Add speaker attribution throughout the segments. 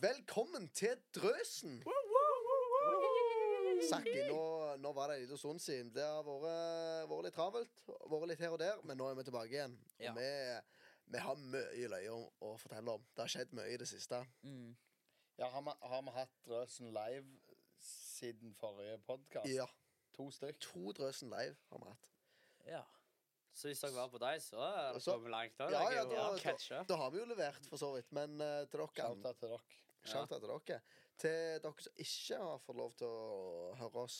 Speaker 1: velkommen til Drøsen! Sakki, nå, nå var det en liten stund siden. Det har vært, vært litt travelt, vært litt her og der, men nå er vi tilbake igjen. Og
Speaker 2: Ja.
Speaker 1: vi, vi har mye løye å, å fortelle om. Det har skjedd mye i det siste.
Speaker 3: Ja, har, vi, har vi hatt Drøsen live siden forrige podkast?
Speaker 1: Ja.
Speaker 3: To stykk.
Speaker 1: To Drøsen live har vi hatt.
Speaker 2: Ja. Så hvis dere var på deg, så er dere
Speaker 1: Så-
Speaker 2: kommet langt. Da.
Speaker 1: Ja,
Speaker 2: Dere
Speaker 1: ja,
Speaker 2: er jo
Speaker 1: da, da,
Speaker 2: catcher.
Speaker 1: da har vi jo levert, for så vidt. Men eh, til dere
Speaker 3: Shout out til dere.
Speaker 1: Shout out til dere. Til dere som ikke har fått lov til å høre oss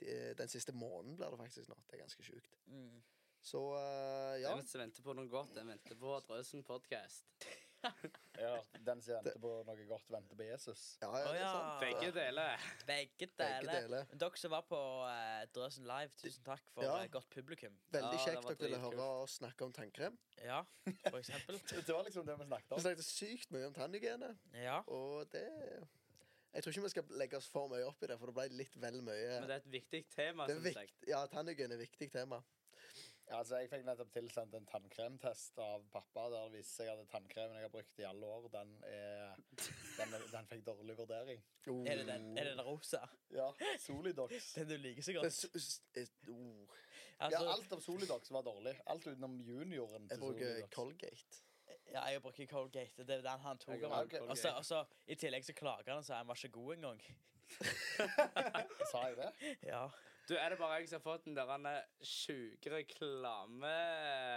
Speaker 1: de- den siste måneden, blir det faktisk nå. Det er ganske sjukt.
Speaker 2: Mm.
Speaker 1: Så eh, ja.
Speaker 2: Jeg vet ikke vente på noe godt. Jeg venter på Drøsen podcast.
Speaker 3: Ja, den som venter på noe godt, venter på Jesus.
Speaker 1: Ja,
Speaker 4: Å,
Speaker 1: ja, det er
Speaker 4: ja.
Speaker 1: sant.
Speaker 2: Begge deler.
Speaker 4: Begge
Speaker 1: Begge deler.
Speaker 4: deler. Men Dere som var på eh, Drøsen live, tusen takk for
Speaker 1: Ja.
Speaker 4: eh, godt publikum.
Speaker 1: Veldig
Speaker 2: Ja, det
Speaker 1: kjekt
Speaker 2: var
Speaker 1: dere ville
Speaker 2: dritkult.
Speaker 1: høre oss snakke om tannkrem.
Speaker 4: Ja, for eksempel.
Speaker 3: Det var liksom det vi snakket
Speaker 1: Vi
Speaker 3: om.
Speaker 1: snakket sykt mye om tannhygiene,
Speaker 4: Ja.
Speaker 1: og det Jeg tror ikke vi skal legge oss for mye opp i det, for det ble litt vel mye.
Speaker 2: Men det er et viktig tema.
Speaker 1: Det er
Speaker 2: som
Speaker 1: vikt,
Speaker 2: sagt.
Speaker 1: ja, tannhygiene er et viktig tema.
Speaker 3: Ja, altså, jeg fikk nettopp tilsendt en tannkremtest av pappa. Der det viste seg at tannkremen jeg har brukt i alle år, den, er, den, er- den fikk dårlig vurdering.
Speaker 1: Oh.
Speaker 4: Er det den, er det den rosa?
Speaker 3: Ja, Solidox.
Speaker 4: Den du liker så
Speaker 1: Det er
Speaker 4: godt?
Speaker 1: s- s- eh, oh.
Speaker 3: Ja,
Speaker 4: Altså,
Speaker 3: alt av Solidox var dårlig. Alt utenom junioren
Speaker 1: Jeg
Speaker 3: til
Speaker 1: bruker
Speaker 3: Solidox.
Speaker 1: Colgate.
Speaker 4: ja, jeg bruker Colgate. Det er den han tok
Speaker 3: Jeg
Speaker 4: av
Speaker 3: har
Speaker 4: meg.
Speaker 3: Colgate.
Speaker 4: Og så- og så i tillegg så klager han og sier han var ikke god engang.
Speaker 3: Sa jeg det?
Speaker 4: Ja.
Speaker 2: Du, er det bare jeg som har fått den der han er sjuke reklame...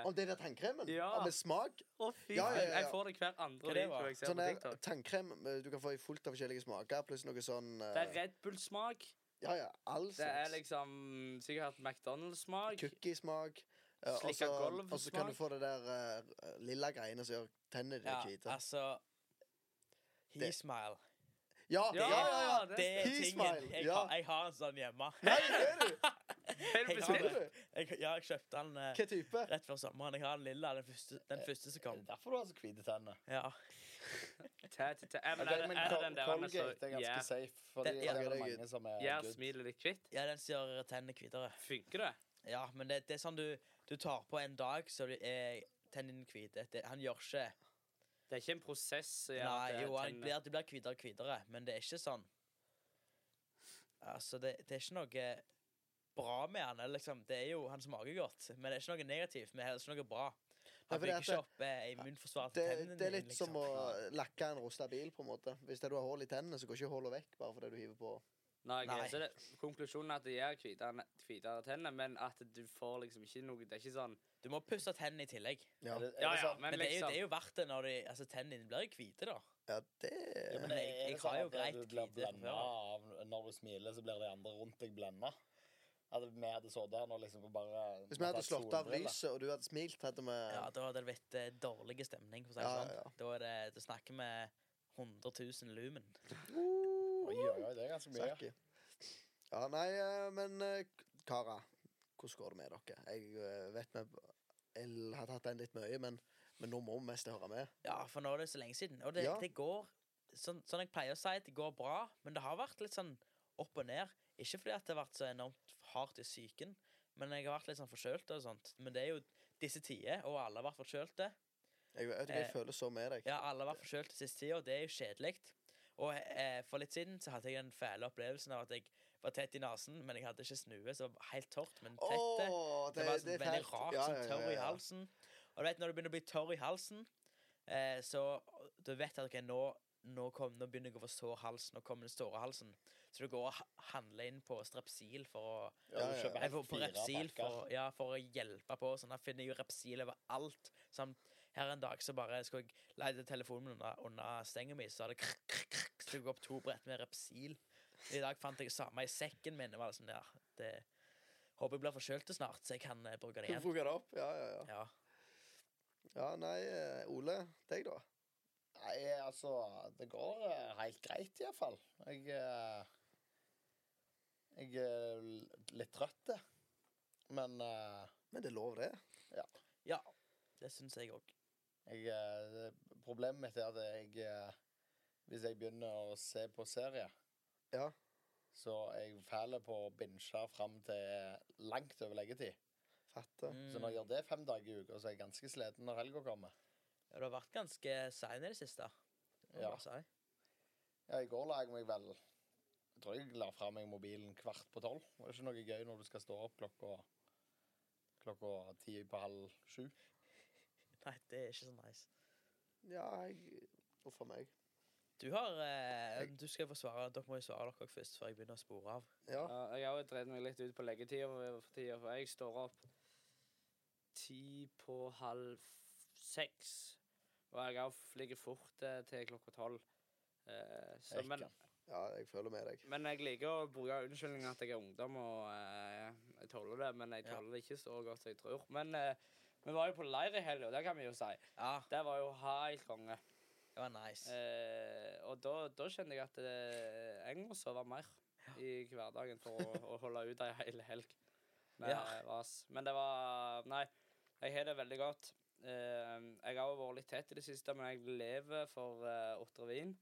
Speaker 1: Om det der tannkremen?
Speaker 2: Ja.
Speaker 1: Med smak?
Speaker 2: Å, fy
Speaker 1: Ja, ja, ja,
Speaker 2: Jeg- Jeg
Speaker 1: ja.
Speaker 2: får det hver andre
Speaker 4: Hva det
Speaker 2: video
Speaker 4: var?
Speaker 2: jeg ser
Speaker 1: Sånn
Speaker 2: på
Speaker 1: der
Speaker 2: TikTok.
Speaker 1: tannkrem eh, du kan få i fullt av forskjellige smaker, pluss noe sånn eh,
Speaker 2: Det er Red Bull-smak.
Speaker 1: Ja, ja, all
Speaker 2: Det er
Speaker 1: slags.
Speaker 2: liksom sikkert McDonald's-smak.
Speaker 1: Cookiesmak. eh, og
Speaker 2: Slikka
Speaker 1: så-
Speaker 2: gulv-smak.
Speaker 1: Og så kan du få det der eh, lilla greiene som gjør tennene
Speaker 4: ja
Speaker 1: dine hvite.
Speaker 4: altså He
Speaker 1: Det-
Speaker 4: smile.
Speaker 1: Ja, ja, ja! ja.
Speaker 2: det-
Speaker 4: Det er
Speaker 1: He
Speaker 4: tingen.
Speaker 1: smile,
Speaker 4: Jeg,
Speaker 1: ja.
Speaker 4: har- jeg har en sånn hjemme.
Speaker 1: Nei, det er du!
Speaker 2: Er det
Speaker 4: Jeg har,
Speaker 2: bestilt?
Speaker 1: bestiller
Speaker 4: jeg, ja, jeg kjøpte den eh,
Speaker 1: Hva Eh, type?
Speaker 4: rett før sommeren. Jeg har den lilla, den første, den første som
Speaker 3: Det er
Speaker 4: kom.
Speaker 3: derfor du har så hvite tenner.
Speaker 1: eh,
Speaker 4: Ja.
Speaker 2: Tæ, tæ, tæ. Ja, men
Speaker 3: Men,
Speaker 2: Er det- er det den der han er så
Speaker 3: Colgate er ganske
Speaker 2: Ja,
Speaker 3: safe, fordi
Speaker 4: Den-
Speaker 3: det,
Speaker 4: ja.
Speaker 3: er det
Speaker 1: Ok, det er
Speaker 3: mange som er
Speaker 2: ja,
Speaker 3: good.
Speaker 2: smilet ditt kvitt?
Speaker 4: ja, den som gjør tennene hvitere.
Speaker 2: Funker det?
Speaker 4: Ja, men det, det er sånn du, du tar på en dag, så du er tennene hvite. Det- Han gjør ikke
Speaker 2: Det er ikke en prosess som gjør at eh,
Speaker 4: Nei,
Speaker 2: det
Speaker 4: jo, han
Speaker 2: tenner-
Speaker 4: blir, det blir hvitere og hvitere, men det er ikke sånn Altså, det, det er ikke noe bra med han. eller Liksom. Det er jo, Han smaker godt, men det er ikke noe negativt. Men det er ikke noe bra.
Speaker 1: Nei, for
Speaker 4: Han
Speaker 1: det er
Speaker 4: bygger
Speaker 1: at
Speaker 4: ikke opp eh, immunforsvaret
Speaker 1: Det,
Speaker 4: til tennene
Speaker 1: det er
Speaker 4: dine,
Speaker 1: litt
Speaker 4: liksom.
Speaker 1: som å lakke en rosta bil, på en måte. Hvis det du har hull i tennene, så går ikke hullet vekk bare fordi du hiver på.
Speaker 2: Nei, ok,
Speaker 4: Nei.
Speaker 2: Så det, konklusjonen er at det gjør hvitere, hvitere tenner, men at du får liksom ikke noe Det er ikke sånn
Speaker 4: Du må pusse tennene i tillegg.
Speaker 1: Ja,
Speaker 3: Er det- er
Speaker 2: Ja,
Speaker 3: det
Speaker 2: ja,
Speaker 3: sånn-
Speaker 2: men
Speaker 4: Men det er jo,
Speaker 2: liksom
Speaker 4: det er jo verdt det når de, altså, tennene dine blir jo hvite, da.
Speaker 1: ja det
Speaker 3: Ja, men
Speaker 4: Jeg-
Speaker 3: er det
Speaker 4: jeg
Speaker 3: sånn
Speaker 4: har jo
Speaker 3: at det-
Speaker 4: greit
Speaker 3: du blir
Speaker 4: hvite fra
Speaker 3: blendet av- Når du smiler, så blir de andre rundt deg blenda. At vi hadde sittet her nå liksom og bare
Speaker 1: Hvis vi hadde
Speaker 3: tatt
Speaker 1: slått av
Speaker 3: solbriller.
Speaker 1: lyset, og du hadde smilt, hadde vi
Speaker 4: Ja, Da hadde det blitt eh, dårlig stemning. For å si det
Speaker 1: Ja,
Speaker 4: sånn.
Speaker 1: ja, ja.
Speaker 4: Da er det, da snakker vi 100 000 lumen.
Speaker 3: Oi, oi, oi, det er ganske mye.
Speaker 1: Sakki. Ja, nei, eh, men eh, Kara, hvordan går det med dere? Jeg eh, vet vi jeg har tatt den litt mye, men, men nå må vi mest høre med.
Speaker 4: Ja, for nå er det så lenge siden. Og det,
Speaker 1: Ja.
Speaker 4: det går sånn, sånn jeg pleier å si, det går bra, men det har vært litt sånn opp og ned. Ikke fordi at det har vært så enormt hardt i psyken, men jeg har vært litt sånn forkjølt og sånt. Men det er jo disse tider, og alle har vært forkjølte.
Speaker 1: Jeg, vet ikke, jeg
Speaker 4: Eh,
Speaker 1: føler så med deg.
Speaker 4: Ja, alle har vært forkjølte siste tida, og det er jo kjedelig. Og eh, for litt siden så hadde jeg den fæle opplevelsen av at jeg var tett i nesen, men jeg hadde ikke snue, så det var helt tørt, men tett. det,
Speaker 1: Åh,
Speaker 4: var sånn
Speaker 1: det er
Speaker 4: veldig
Speaker 1: fælt.
Speaker 4: rart,
Speaker 1: Ja,
Speaker 4: sånn
Speaker 1: ja,
Speaker 4: tørr
Speaker 1: ja,
Speaker 4: i
Speaker 1: ja.
Speaker 4: halsen. Og du vet, når du begynner å bli tørr i halsen, eh, så du vet at ok, nå, nå, kom, nå begynner jeg å få sår hals, nå kommer den store halsen. Så du går og ha- handler inn på Strepsil for å
Speaker 3: Ja, du
Speaker 1: Ja, ja,
Speaker 3: kjøper
Speaker 4: Nei,
Speaker 3: helt
Speaker 4: for, på
Speaker 3: fire
Speaker 4: Repsil for,
Speaker 3: pakker.
Speaker 4: ja, for å hjelpe på. Sånn, da finner jeg jo Repsil overalt. Sånn, her en dag så bare skulle jeg leide telefonen min under, under stengen min, så hadde krr, krr, krr, så jeg opp to brett med Repsil. I dag fant jeg samme i sekken min. og Var det sånn, ja, det, håper jeg blir forkjølt snart, så jeg kan eh, bruke
Speaker 1: Du
Speaker 4: det igjen.
Speaker 1: bruker det opp? Ja, ja, ja.
Speaker 4: Ja.
Speaker 1: ja nei, eh, Ole. Deg, da?
Speaker 3: Nei, altså Det går eh, helt greit, iallfall. Jeg eh, Jeg er l- litt trøtt, det. men eh,
Speaker 1: Men det er lov, det.
Speaker 3: ja.
Speaker 4: ja, det syns jeg òg.
Speaker 3: Jeg, eh, problemet mitt er at jeg eh, Hvis jeg begynner å se på serie,
Speaker 1: Ja.
Speaker 3: så er jeg fæl på å binge fram til langt over leggetid.
Speaker 1: Fatter.
Speaker 4: Mm.
Speaker 3: Så når jeg gjør det fem dager i uka, så er jeg ganske sliten når helga kommer.
Speaker 4: Ja, du har vært ganske sein i det siste. må jeg
Speaker 3: Ja.
Speaker 4: bare si.
Speaker 3: Ja, I går la jeg meg vel Jeg tror jeg la fra meg mobilen kvart på tolv. Det er ikke noe gøy når du skal stå opp klokka Klokka ti på halv sju.
Speaker 4: Nei, det er ikke så nice. Mm.
Speaker 1: Ja, jeg Uff a meg.
Speaker 4: Du har eh, Du skal få svare. Dere må jo svare dere også først, før jeg begynner å spore av.
Speaker 1: Ja.
Speaker 2: Ja, jeg har jo drevet meg litt ut på leggetida for tida, for jeg står opp ti på halv seks. Og jeg har ligger fort eh, til klokka tolv. Eh, så,
Speaker 3: Jeg
Speaker 2: men,
Speaker 3: kan.
Speaker 1: ja, jeg føler med deg.
Speaker 2: men jeg liker å bruke unnskyldningen at jeg er ungdom, og eh, jeg tåler det. Men jeg
Speaker 4: Ja.
Speaker 2: tåler det ikke så godt som jeg tror. Men eh, vi var jo på leir i helga, det kan vi jo si.
Speaker 4: Ja,
Speaker 2: Det var jo helt konge.
Speaker 4: det var nice.
Speaker 2: Eh, og da, da kjenner jeg at eh, jeg må sove mer i hverdagen for å, å holde ut ei hel helg. Med
Speaker 4: Ja.
Speaker 2: vas. Men det var Nei, jeg har det veldig godt. Eh, jeg har jo vært litt tett i det siste, men jeg lever for eh, Otrevin.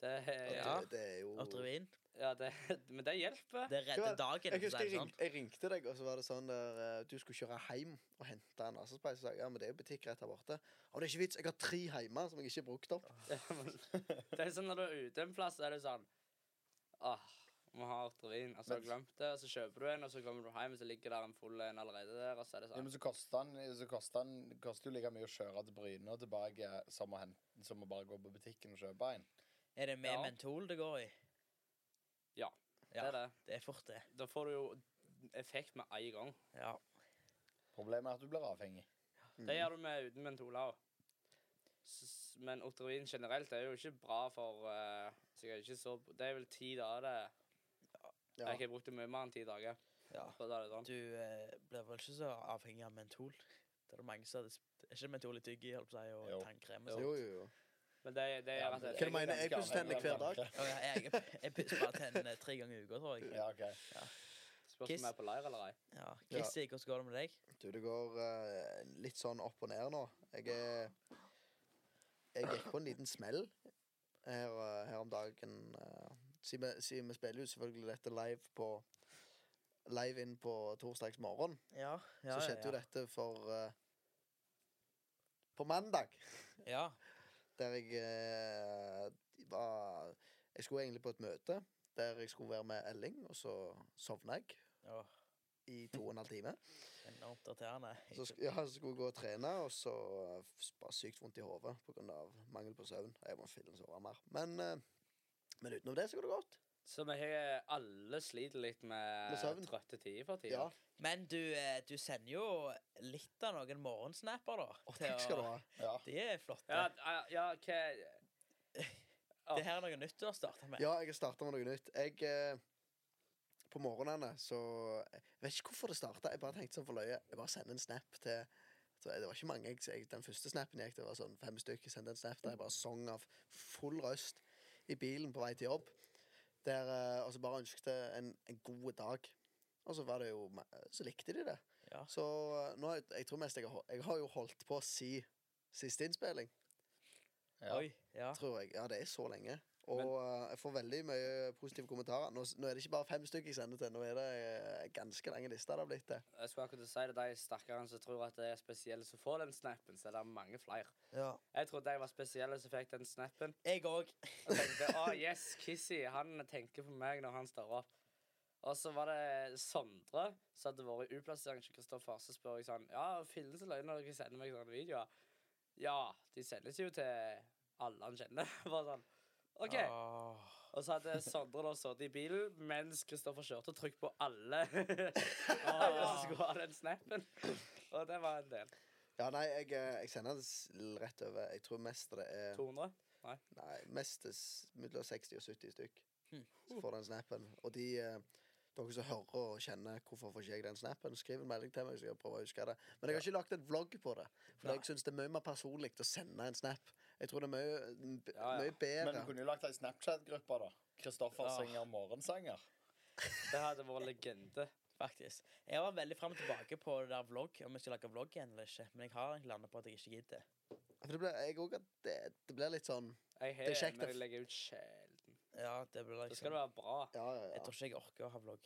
Speaker 2: Det,
Speaker 1: At
Speaker 2: ja.
Speaker 4: Ja.
Speaker 1: Det, det er jo
Speaker 4: Otrevin.
Speaker 2: det, Men det hjelper.
Speaker 4: Det redder
Speaker 1: Hva-
Speaker 4: dagen.
Speaker 1: Jeg
Speaker 4: for å si
Speaker 1: husker jeg,
Speaker 4: det
Speaker 1: ring,
Speaker 4: sånn.
Speaker 1: jeg ringte deg, og så var det sånn der eh, Du skulle kjøre hjem og hente en Asaspeis. Og så sa jeg ja, men det er jo butikk rett her borte. Og det er ikke vits, jeg har tre hjemme som jeg ikke har brukt opp.
Speaker 2: Ja, men det er sånn Når du er ute en plass, så er det sånn Åh, må ha Otrevin. Og så har du glemt det, og så kjøper du en, og så kommer du hjem, og så ligger der en full en allerede der, og så er det
Speaker 3: Ja,
Speaker 2: sånn
Speaker 3: men så koster den, så koster den koster jo like mye å kjøre til Bryne og tilbake som å, hen- som å bare gå på butikken og kjøpe en.
Speaker 4: Er det med
Speaker 2: Ja.
Speaker 4: mentol det går i?
Speaker 2: Ja,
Speaker 4: Ja,
Speaker 2: Det er det.
Speaker 4: det er fort det.
Speaker 2: Da får du jo effekt med en gang.
Speaker 4: Ja.
Speaker 3: Problemet er at du blir avhengig.
Speaker 2: Det gjør du med uten mentola òg. Men Otrivin generelt er jo ikke bra for eh, sikkert ikke så, Det er vel ti dager det
Speaker 1: Ja.
Speaker 2: Jeg har brukt det mye mer enn ti dager.
Speaker 4: ja.
Speaker 2: For da er det sånn.
Speaker 4: Du eh, blir vel ikke så avhengig av mentol. Det er det mange som hadde sp- Er ikke mentol litt digg i, holdt på å si,
Speaker 3: Jo.
Speaker 4: og tannkrem og
Speaker 1: Jo,
Speaker 4: sånn?
Speaker 1: jo, jo.
Speaker 2: Men det, det
Speaker 3: Ja,
Speaker 2: gjør
Speaker 3: men
Speaker 2: at
Speaker 3: det-
Speaker 1: Hva du mener? Jeg pusser tennene hver dag.
Speaker 4: Å ja, jeg, jeg pusser bare tennene tre ganger i uka, tror jeg.
Speaker 3: Ja, ok.
Speaker 2: Spørs
Speaker 4: Kiss.
Speaker 2: om jeg er på leir eller ei.
Speaker 4: Ja. Chrissy, hvordan går det med deg?
Speaker 1: Du, det går eh, litt sånn opp og ned nå. Jeg er Jeg gikk på en liten smell her, eh, her om dagen. eh, Siden vi- siden vi spiller jo selvfølgelig dette live på Live inn på torsdags morgen,
Speaker 4: Ja, ja,
Speaker 1: så skjedde jo dette for eh, På mandag,
Speaker 4: Ja.
Speaker 1: der jeg eh, var Jeg skulle egentlig på et møte der jeg skulle være med Elling, og så sovna jeg
Speaker 4: ja.
Speaker 1: i to og en halv time.
Speaker 4: Enormt irriterende.
Speaker 1: Så, sk- ja, så skulle jeg gå og trene, og så eh, f- bare sykt vondt i hodet pga. mangel på søvn. Jeg må fillen sove mer. Men, eh, men utenom det så går det godt.
Speaker 2: Så vi har alle sliter litt med
Speaker 1: Med søvn.
Speaker 2: trøtte tider for tida.
Speaker 1: Ja,
Speaker 4: Men du, eh, du sender jo litt av noen morgensnapper, da.
Speaker 1: og
Speaker 4: til
Speaker 1: takk skal du ha.
Speaker 3: Ja.
Speaker 4: De er flotte.
Speaker 2: Ja, ja, ja, hva ja.
Speaker 4: Det her er noe nytt du har starta med.
Speaker 1: Ja, jeg har starta med noe nytt. Jeg eh, På morgenene så Jeg vet ikke hvorfor det starta. Jeg bare tenkte sånn for løye. Jeg bare sender en snap til så Det var ikke mange. Jeg, jeg, den første snappen jeg gikk til, var sånn fem stykker. Jeg sendte en snap der jeg bare sang av full røst i bilen på vei til jobb. Der, eh, og så bare ønsket jeg en, en god dag. Og så var det jo ma- Så likte de det.
Speaker 4: Ja.
Speaker 1: Så eh, nå, har jeg, jeg tror mest jeg har, hol- jeg har jo holdt på å si siste innspilling
Speaker 3: Ja.
Speaker 4: Oi, ja.
Speaker 1: tror jeg. Ja, det er så lenge. Og eh, jeg får veldig mye positive kommentarer. Nå, s- nå er det ikke bare fem stykker jeg sender til, nå er det eh, ganske lange lister det har blitt til.
Speaker 2: Jeg skulle akkurat si det de stakkarene som tror at det er spesielle som får den snappen, så er det mange flere.
Speaker 4: ja.
Speaker 2: Jeg trodde jeg var spesiell som fikk den snappen.
Speaker 4: Jeg òg.
Speaker 2: Og tenkte å yes, Kissy, han tenker på meg når han står opp. Og så var det Sondre som hadde vært i utplassering til Kristoffer. Så spør jeg sånn Ja, fillen så løgn når dere sender meg sånne videoer. Ja, de sendes jo til alle han kjenner. Bare sånn. OK.
Speaker 4: Åh.
Speaker 2: Og så hadde Sondre da sittet i bilen mens Kristoffer kjørte og trykt på alle. Og skulle ha den snappen. Og det var en del.
Speaker 1: Ja, nei, jeg, eh, jeg sender det s- rett over. Jeg tror mest det er
Speaker 2: 200.
Speaker 1: Nei, mest det s- mellom 60 og 70 stykk.
Speaker 4: Hm.
Speaker 1: Så får den snappen. Og de eh, dere som hører og kjenner hvorfor får ikke jeg den snappen, skriv en melding til meg. så jeg prøver å huske det. Men jeg har ikke lagt en vlogg på det. For
Speaker 4: Nei.
Speaker 1: jeg syns det er mye mer personlig å sende en snap. Jeg tror det er mye, b-
Speaker 2: Ja, ja.
Speaker 1: mye bedre.
Speaker 3: Men du kunne jo lagt ei Snapchat-gruppe, da. Kristoffer
Speaker 4: Ja.
Speaker 3: synger morgensanger.
Speaker 2: Det hadde vært legende.
Speaker 4: Faktisk. Jeg var veldig fram og tilbake på det der vlogg, om jeg skal lage vlogg igjen eller ikke. Men jeg har egentlig landet på at jeg ikke gidder.
Speaker 1: For det blir, jeg òg at det, det blir litt sånn
Speaker 2: Jeg
Speaker 1: Det er
Speaker 2: har
Speaker 1: kjekt,
Speaker 2: men
Speaker 1: det.
Speaker 2: jeg legger ut sjelden.
Speaker 4: Ja, det blir
Speaker 2: Da
Speaker 4: liksom
Speaker 2: skal det sånn. være bra.
Speaker 1: Ja, ja,
Speaker 4: Jeg
Speaker 1: ja.
Speaker 4: tror ikke jeg orker å ha vlogg.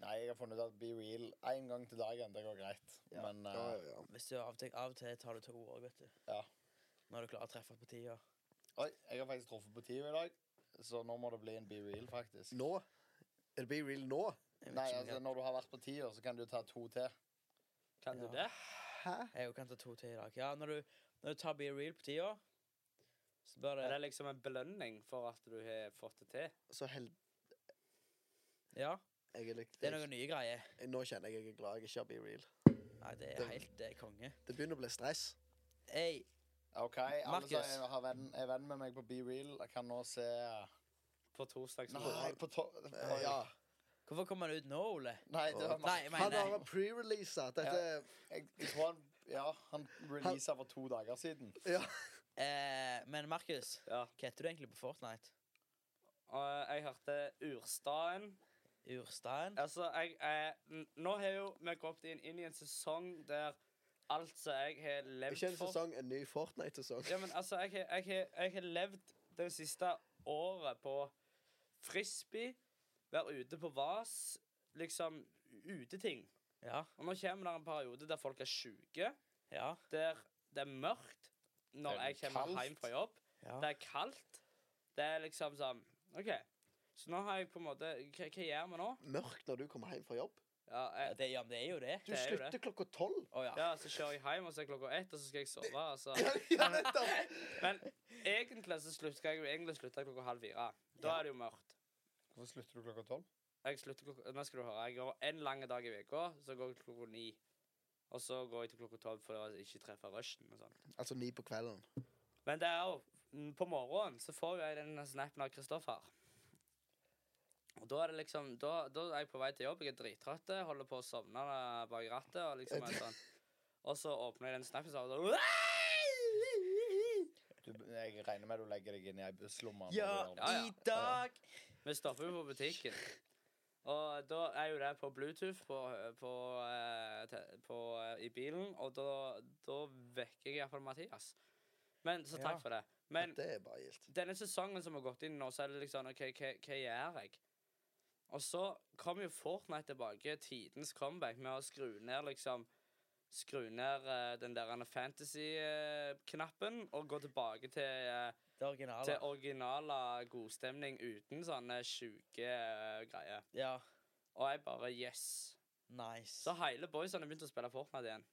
Speaker 3: Nei, jeg har funnet ut at be real én gang til dagen, det går greit. Men
Speaker 1: ja,
Speaker 3: eh,
Speaker 1: ja, ja.
Speaker 4: Hvis du av og til, av og til tar du til ord òg, vet du.
Speaker 3: Ja.
Speaker 4: Når du klarer å treffe på tida.
Speaker 3: Oi, jeg har faktisk truffet på tida i dag. Så nå må det bli en be real, faktisk.
Speaker 1: Nå? Er det Be Real nå?
Speaker 4: Jeg vet
Speaker 3: Nei,
Speaker 4: ikke om
Speaker 3: altså Når du har vært på tiår, så kan du ta to til.
Speaker 2: Kan du
Speaker 4: Ja.
Speaker 2: det?
Speaker 1: Hæ?
Speaker 4: Jeg kan ta to til i dag. Ja, når du, når du tar Be Real på tida, så bør
Speaker 2: Er
Speaker 4: det
Speaker 2: det liksom en belønning for at du har fått det til?
Speaker 1: Så held...
Speaker 4: Ja,
Speaker 1: Jeg er litt...
Speaker 4: det er noen nye greier.
Speaker 1: Nå kjenner jeg jeg er glad jeg ikke har Be Real.
Speaker 4: Nei, det er
Speaker 1: Det-
Speaker 4: helt eh, konge.
Speaker 1: Det begynner å bli stress.
Speaker 4: Ei,
Speaker 3: OK, alle som
Speaker 4: Markus.
Speaker 3: er- har venn, er venn med meg på be real, jeg kan nå se
Speaker 2: På torsdag? så-
Speaker 3: Nei, på to...
Speaker 1: Eh, ja.
Speaker 4: hvorfor kommer han ut nå, Ole?
Speaker 3: Nei, det var
Speaker 4: Nei, jeg
Speaker 1: Han
Speaker 4: mener
Speaker 1: har pre-releasa dette.
Speaker 3: Jeg, jeg tror han Ja, han releasa for to dager siden.
Speaker 1: Ja.
Speaker 4: eh, Men Markus,
Speaker 2: Ja.
Speaker 4: hva heter du egentlig på Fortnite?
Speaker 2: Og jeg hørte Urstaden.
Speaker 4: Urstein?
Speaker 2: Altså, jeg er n- Nå har jo vi gått inn, inn i en sesong der alt som jeg har levd
Speaker 1: Ikke en
Speaker 2: for
Speaker 1: sesong, en ny Fortnite-sesong.
Speaker 2: Ja, men altså, jeg, har- jeg, har- jeg har levd det siste året på frisbee, være ute på vas, liksom uteting.
Speaker 4: Ja.
Speaker 2: Og nå kommer det en periode der folk er syke,
Speaker 4: Ja.
Speaker 2: der det er mørkt når
Speaker 3: Det er
Speaker 2: jeg kommer
Speaker 3: kaldt.
Speaker 2: hjem fra jobb.
Speaker 4: ja.
Speaker 2: Det er kaldt. Det er liksom sånn OK. Så nå har jeg på en måte Hva, hva gjør vi nå?
Speaker 1: Mørkt når du kommer hjem fra jobb.
Speaker 2: Ja,
Speaker 4: Ja,
Speaker 2: jeg,
Speaker 4: Eh, det, ja, men det er jo det.
Speaker 1: Du
Speaker 2: Det er jo
Speaker 1: slutter klokka tolv.
Speaker 4: Å ja.
Speaker 2: ja, så kjører jeg hjem, og så er klokka ett, og så skal jeg sove. Og så.
Speaker 1: ja, nettopp.
Speaker 2: Men egentlig så slutt, skal jeg jo egentlig slutte klokka halv fire. Da
Speaker 4: Ja.
Speaker 2: er det jo mørkt.
Speaker 3: Hvorfor slutter du klokka tolv?
Speaker 2: Jeg slutter klokka Nå skal du høre. Jeg går en lang dag i uka, så går jeg til klokka ni. Og så går jeg til klokka tolv for å ikke treffe rushen og sånt.
Speaker 1: altså ni på kvelden.
Speaker 2: Men det er jo mm, På morgenen så får jo jeg den snappen av Kristoffer. Og da er det liksom Da, da er jeg på vei til jobb, jeg er drittrøtt, holder på å sovne eh, bak rattet, og liksom er sånn Og så åpner jeg den snappen, så er det sånn
Speaker 3: Du, jeg regner med du legger deg inn i ei buslomme. når
Speaker 4: Ja,
Speaker 3: du gjør det.
Speaker 2: Ja, ja.
Speaker 4: i dag!
Speaker 2: Vi stopper jo på butikken. Og da er jo det på Bluetooth på, på, eh, te- på, eh, i bilen, og da, da vekker jeg iallfall Mathias. Men, så takk
Speaker 4: Ja.
Speaker 2: for det. Men
Speaker 1: det er bare gildt.
Speaker 2: denne sesongen som har gått inn nå, så er det liksom OK, hva, hva gjør jeg? Og så kom jo Fortnite tilbake, tidens comeback, med å skru ned liksom Skru ned eh, den der fantasy-knappen og gå tilbake til eh,
Speaker 4: Det
Speaker 2: til
Speaker 4: originale.
Speaker 2: originale godstemning uten sånne sjuke eh, greier.
Speaker 4: Ja.
Speaker 2: Og jeg bare yes. Så
Speaker 4: Nice.
Speaker 2: hele boysene begynte å spille Fortnite igjen.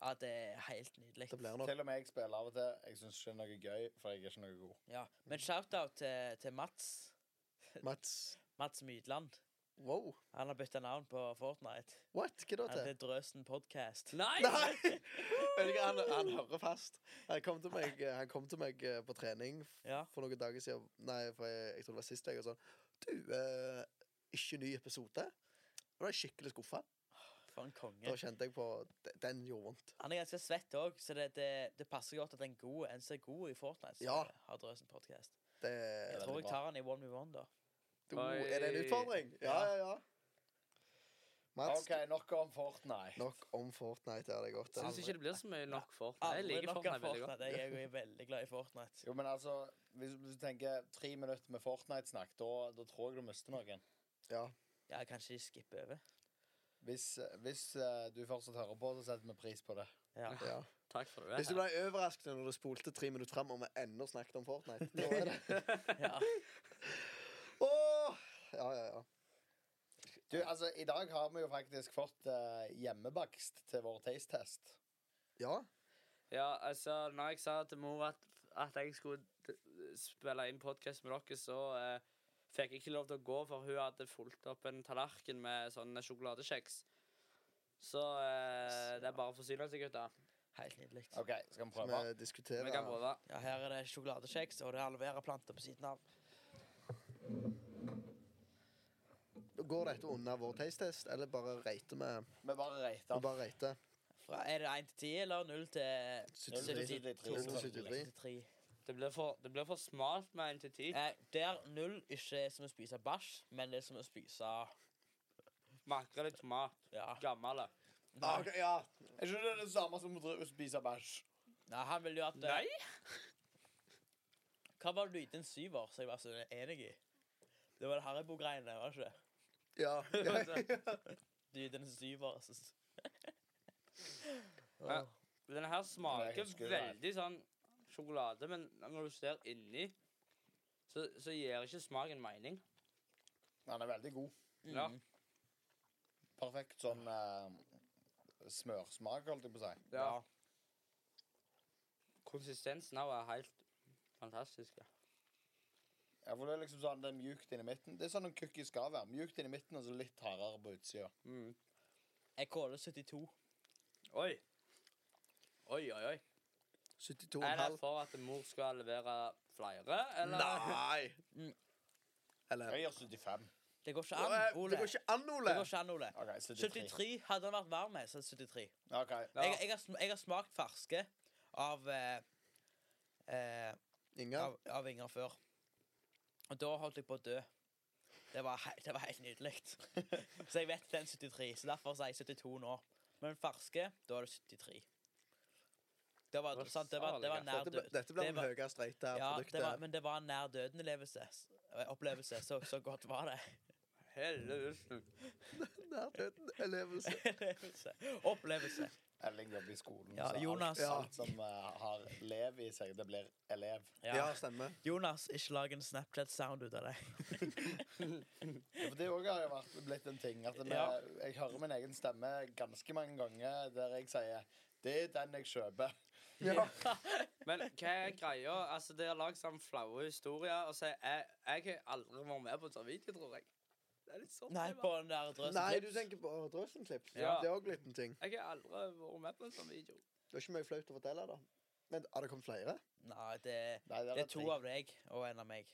Speaker 4: Ja, det er helt nydelig.
Speaker 1: Det blir nok
Speaker 3: Til og med jeg spiller av og til. Jeg syns ikke det er noe gøy, for jeg er ikke noe god.
Speaker 4: Ja. Men shout-out til, til Mats.
Speaker 1: Mats.
Speaker 4: Mats Mydland.
Speaker 1: Wow.
Speaker 4: Han har bytta navn på Fortnite.
Speaker 1: What? Hva da
Speaker 4: Han
Speaker 1: til?
Speaker 4: heter Drøsen Podcast.
Speaker 2: Nei!
Speaker 1: Nei! Vet du hva, han, han hører fast. Han kom til meg, han kom til meg eh, på trening
Speaker 4: Ja.
Speaker 1: for noen dager siden. Nei, for jeg, jeg tror det var sist jeg. Og sånn Du, eh, ikke ny episode? Og da er jeg skikkelig skuffa.
Speaker 4: For en
Speaker 1: Da
Speaker 4: konge.
Speaker 1: kjente jeg på d- Den gjorde vondt.
Speaker 4: Han er ganske svett òg, så det, det, det passer godt at en god en som er god i Fortnite, så
Speaker 1: Ja.
Speaker 4: har Drøsen Podcast.
Speaker 1: Det,
Speaker 4: Jeg
Speaker 3: veldig
Speaker 4: tror jeg
Speaker 3: bra.
Speaker 4: tar han i one v one, da.
Speaker 1: du, er det en
Speaker 2: Oi.
Speaker 1: utfordring? Ja, ja, ja. Mats,
Speaker 3: OK, nok om Fortnite.
Speaker 1: nok om Fortnite. Er det godt?
Speaker 2: Syns ikke det blir så mye nok Fortnite. Jeg
Speaker 4: Aldri
Speaker 2: liker
Speaker 4: nok av
Speaker 2: Fortnite veldig godt.
Speaker 4: Fortnite. Jeg er jo veldig glad i Fortnite.
Speaker 3: Jo, men altså, hvis hvis du tenker tre minutter med Fortnite-snakk, da, da tror jeg du mister noen.
Speaker 1: Ja.
Speaker 4: Ja, kanskje de skipper over.
Speaker 3: Hvis, hvis eh, du fortsatt hører på, så setter vi pris på det.
Speaker 4: Ja.
Speaker 1: ja.
Speaker 2: Takk for
Speaker 1: Hvis du
Speaker 2: det.
Speaker 1: ble overrasket når du spolte tre minutter fram og vi ennå snakket om Fortnite da er det.
Speaker 4: ja.
Speaker 1: Åh! Ja, ja, ja.
Speaker 3: Du, altså, I dag har vi jo faktisk fått eh, hjemmebakst til vår taste-test.
Speaker 1: ja.
Speaker 2: Ja, altså, når jeg sa til mor at, at jeg skulle d- spille inn podkast med dere, så eh, fikk jeg ikke lov til å gå, for hun hadde fulgt opp en tallerken med sånne sjokoladekjeks. Så eh, det er bare å forsyne seg, gutter.
Speaker 4: Helt nydelig.
Speaker 3: OK, skal vi prøve?
Speaker 1: Vi diskuterer
Speaker 2: Vi kan prøve.
Speaker 4: Ja, her er det sjokoladekjeks, og det er aloe vera-planter på siden av.
Speaker 1: Går dette under vår taste-test, eller bare rater vi?
Speaker 3: Vi bare
Speaker 1: Vi
Speaker 3: reiter.
Speaker 1: bare rater.
Speaker 4: Fra, er det 1 til 10, eller 0 til
Speaker 1: 73. 73.
Speaker 4: 73?
Speaker 2: Det blir for, det blir for smalt med en til ti.
Speaker 4: Eh, der null ikke er som å spise bæsj, men det er som å spise
Speaker 2: Makrell i tomat.
Speaker 4: Ja.
Speaker 2: Gammel.
Speaker 1: Ah, ok, ja.
Speaker 3: Er ikke det det samme som å dri- spise bæsj?
Speaker 4: Nei, han ville jo at eh, Hva var det du gitt en syver, som jeg var så enig i? Det var det Haribo-greiene, var det ikke? det?
Speaker 1: ja. ja.
Speaker 4: Du gitt en syver. Så...
Speaker 2: Ja. Den her
Speaker 3: Ja, jeg
Speaker 2: smaker
Speaker 3: husker det her.
Speaker 2: veldig sånn sjokolade, men når du ser inni, så, så gir ikke smaken mening.
Speaker 3: Den er veldig god.
Speaker 2: Ja.
Speaker 4: Mm.
Speaker 3: Perfekt sånn eh, smørsmak, holdt jeg på å si.
Speaker 2: ja. Konsistensen av er helt fantastisk. Ja.
Speaker 3: Ja, for det er liksom sånn, det er mjukt inni midten. Det er sånn en cookie skal være. Mjukt inni midten og så litt hardere på utsida.
Speaker 2: Mm.
Speaker 4: Jeg caller 72.
Speaker 2: Oi. Oi, oi, oi. Er det
Speaker 1: 72,5.
Speaker 2: for at mor skal levere flere, eller?
Speaker 1: Nei!
Speaker 4: Mm.
Speaker 1: Eller
Speaker 3: Jeg gjør 75.
Speaker 4: Det går ikke
Speaker 1: Åh,
Speaker 4: an,
Speaker 1: eh,
Speaker 4: Ole.
Speaker 1: Det går ikke an,
Speaker 4: Det
Speaker 1: Ole!
Speaker 4: går ikke an, Ole.
Speaker 3: OK, 73.
Speaker 4: 73 hadde han vært varm med, så hadde 73.
Speaker 3: Ok,
Speaker 2: Ja.
Speaker 4: Jeg, jeg, har, sm- jeg har smakt ferske av eh, eh,
Speaker 1: Inger.
Speaker 4: av, av vinger før. Og da holdt jeg på å dø. Det var, he det var helt nydelig. så jeg vet den 73, så derfor sier jeg 72 nå. Men ferske, da er det 73. Det var,
Speaker 2: Det var
Speaker 4: sant, det var, det var
Speaker 2: salig,
Speaker 4: nær
Speaker 1: Dette, ble-
Speaker 4: død.
Speaker 1: dette blir
Speaker 4: Det
Speaker 1: den
Speaker 4: var-
Speaker 1: høyeste rate av
Speaker 4: Ja, det var,
Speaker 1: produktet.
Speaker 4: men det var en nær døden-opplevelse. Opplevelse, så, så godt var det.
Speaker 2: Helvete.
Speaker 1: Nær døden-elevelse.
Speaker 4: Opplevelse. Opplevelse.
Speaker 3: Elling jobber i skolen,
Speaker 4: Ja,
Speaker 3: så
Speaker 4: Jonas.
Speaker 3: alt, alt som eh, har lev i seg, det blir elev.
Speaker 1: Ja,
Speaker 4: Ja.
Speaker 1: stemmer.
Speaker 4: Jonas, ikke lag en Snapchat-sound ut av det.
Speaker 3: Ja, for det òg har jo vært blitt en ting. At vi,
Speaker 4: Ja.
Speaker 3: jeg hører min egen stemme ganske mange ganger der jeg sier 'Det er den jeg kjøper'.
Speaker 1: Ja.
Speaker 2: Men hva er greia? Altså, Dere har lagd sånn flaue historier. Og så jeg, jeg har aldri vært med på en sånn video, tror jeg. Det er litt sånn.
Speaker 4: Nei,
Speaker 2: det var.
Speaker 4: på den der drøsen
Speaker 1: Nei, du
Speaker 4: klips.
Speaker 1: tenker på Drøsen-klips.
Speaker 2: Ja.
Speaker 1: Det er òg blitt en ting.
Speaker 2: Jeg har aldri vært med på en sånn video.
Speaker 1: Det er ikke mye flaut å fortelle, da. Men har det kommet flere?
Speaker 4: Nei, det,
Speaker 3: Nei,
Speaker 4: det
Speaker 3: var
Speaker 4: er to
Speaker 3: tre.
Speaker 4: av deg og en av meg.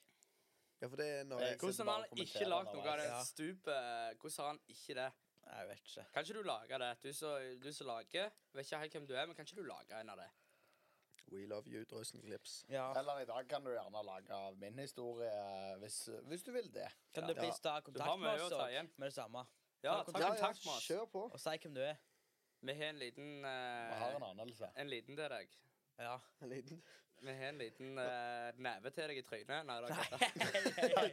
Speaker 1: Ja, for det er når
Speaker 3: Eh,
Speaker 1: jeg
Speaker 3: sitter bare
Speaker 2: Hvordan har
Speaker 3: og
Speaker 2: han ikke
Speaker 3: kommenterer
Speaker 2: lagd noe av det
Speaker 4: underveis.
Speaker 2: stupet? eh, Hvordan har han ikke det?
Speaker 4: Nei, Jeg vet ikke.
Speaker 2: Kan ikke du lage det? Du som du som lager, vet ikke helt hvem du er, men kan ikke du lage en av det?
Speaker 1: We love you, Drøsen-klips.
Speaker 4: Ja.
Speaker 3: Eller i dag kan du gjerne lage av min historie, hvis, hvis du vil det.
Speaker 4: Kan
Speaker 2: Ja.
Speaker 4: du bli
Speaker 1: Ja.
Speaker 4: ta
Speaker 2: Du har
Speaker 4: kontakt med
Speaker 2: mye å
Speaker 4: oss
Speaker 2: ta
Speaker 4: og,
Speaker 2: igjen.
Speaker 4: med det samme?
Speaker 2: Ja,
Speaker 4: Ta
Speaker 2: ta
Speaker 4: kontakt.
Speaker 1: Ja, ja,
Speaker 2: kontakt med oss.
Speaker 1: kjør på.
Speaker 4: Og si hvem du er?
Speaker 2: Vi har en liten
Speaker 3: Vi har
Speaker 2: eh,
Speaker 3: en anelse.
Speaker 2: En liten til deg.
Speaker 4: Ja.
Speaker 1: En liten
Speaker 2: Vi har en liten eh, neve til deg i trynet. Nei, det er ikke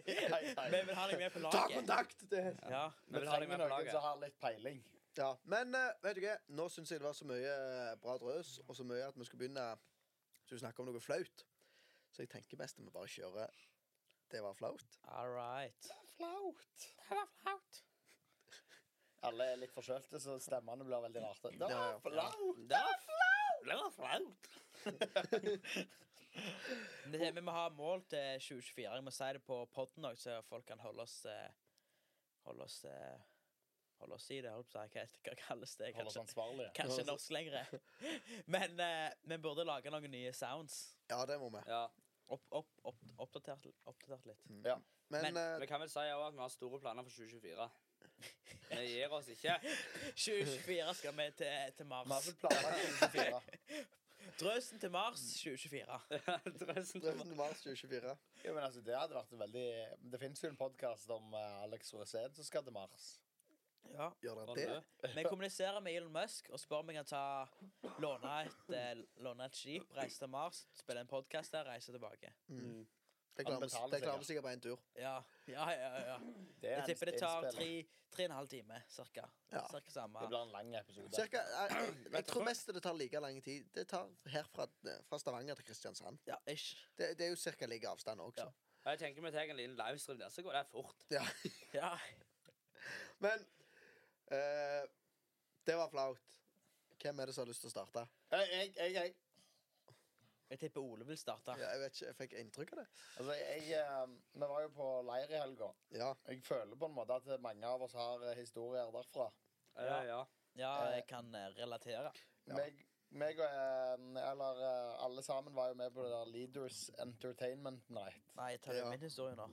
Speaker 4: Vi
Speaker 2: det.
Speaker 4: vil ha deg med på
Speaker 1: Ta
Speaker 4: laget.
Speaker 1: kontakt! Det.
Speaker 4: Ja.
Speaker 2: Vi
Speaker 3: Vi
Speaker 2: vil ha deg
Speaker 3: trenger
Speaker 2: med på
Speaker 3: noen som
Speaker 2: laget.
Speaker 3: har litt peiling.
Speaker 1: Ja, Men eh, vet du hva, nå syns jeg det var så mye eh, bra drøs, og så mye at vi skulle begynne Så vi snakker om noe flaut. Så jeg tenker mest at vi bare kjører Det var flaut.
Speaker 4: All right.
Speaker 3: Flaut. Alle er litt forkjølte, så stemmene blir veldig rarte. Det
Speaker 1: Ja,
Speaker 3: var
Speaker 1: ja.
Speaker 3: flaut.
Speaker 2: Det var flaut! Det var flaut.
Speaker 4: Men det- Vi må ha mål til 2024. Jeg må si det på podden òg, så folk kan holde oss eh, Holde oss eh, Holde oss i det. Holdt på å si. Hva hva kalles det?
Speaker 3: Hold oss
Speaker 4: Kanskje,
Speaker 3: ansvarlige.
Speaker 4: kanskje norsk lenger. Men eh, vi burde lage noen nye sounds.
Speaker 1: Ja, det må vi.
Speaker 2: Ja.
Speaker 4: Opp, opp, opp, oppdatert, oppdatert litt.
Speaker 1: Men,
Speaker 4: Men-
Speaker 1: eh,
Speaker 2: Vi kan vel si også at vi har store planer for 2024. Vi gir oss ikke.
Speaker 4: 2024 skal vi til, til
Speaker 3: Vi har
Speaker 4: Mars.
Speaker 3: vel planlagt 24.
Speaker 4: Drøsen til Mars 2024.
Speaker 2: Drøsen til
Speaker 1: Drøsen til mars 2024.
Speaker 3: Jo, men altså, det hadde vært en veldig Det fins jo en podkast om eh, Alex Rosén som skal til Mars.
Speaker 4: Ja.
Speaker 1: Gjør
Speaker 2: Var
Speaker 1: dere
Speaker 2: det
Speaker 1: det?
Speaker 2: det?
Speaker 4: Vi kommuniserer med Elon Musk og spør om vi kan ta, låne, et, eh, låne et skip, reise til Mars, spille en podkast der, reise tilbake.
Speaker 1: Mm. Det
Speaker 3: Han
Speaker 1: klarer
Speaker 3: betaler
Speaker 1: vi- det
Speaker 3: seg,
Speaker 1: klarer
Speaker 3: ja.
Speaker 1: vi sikkert på én tur.
Speaker 4: Ja, ja, ja. ja.
Speaker 3: Det er
Speaker 4: Jeg
Speaker 3: en
Speaker 4: tipper det tar
Speaker 3: innspilling.
Speaker 4: tre, tre og en halv time, cirka.
Speaker 1: Ja.
Speaker 4: Cirka samme.
Speaker 3: Det blir en lang episode.
Speaker 1: Cirka, jeg, jeg, jeg tror mest det tar like lang tid. Det tar herfra fra Stavanger til Kristiansand.
Speaker 4: Ja, ish.
Speaker 1: Det, det er jo ca. like avstand også.
Speaker 2: Jeg tenker vi tar en liten livestream der, så går det fort.
Speaker 1: Ja.
Speaker 4: Ja.
Speaker 1: Men eh, det var flaut. Hvem er det som har lyst til å starte?
Speaker 3: Jeg, jeg, jeg, jeg.
Speaker 4: Jeg tipper Ole vil starte.
Speaker 1: Ja, jeg vet ikke, jeg fikk inntrykk av det.
Speaker 3: Altså, jeg, eh, Vi var jo på leir i helga.
Speaker 1: Ja,
Speaker 3: Jeg føler på en måte at mange av oss har eh, historier derfra.
Speaker 2: Ja, Eh, ja.
Speaker 4: Ja, jeg kan eh, relatere.
Speaker 1: Ja.
Speaker 3: Meg, meg og eh, Eller eh, alle sammen var jo med på det der Leaders Entertainment Night.
Speaker 4: Nei, jeg tar jo
Speaker 1: Ja.
Speaker 4: min historie nå.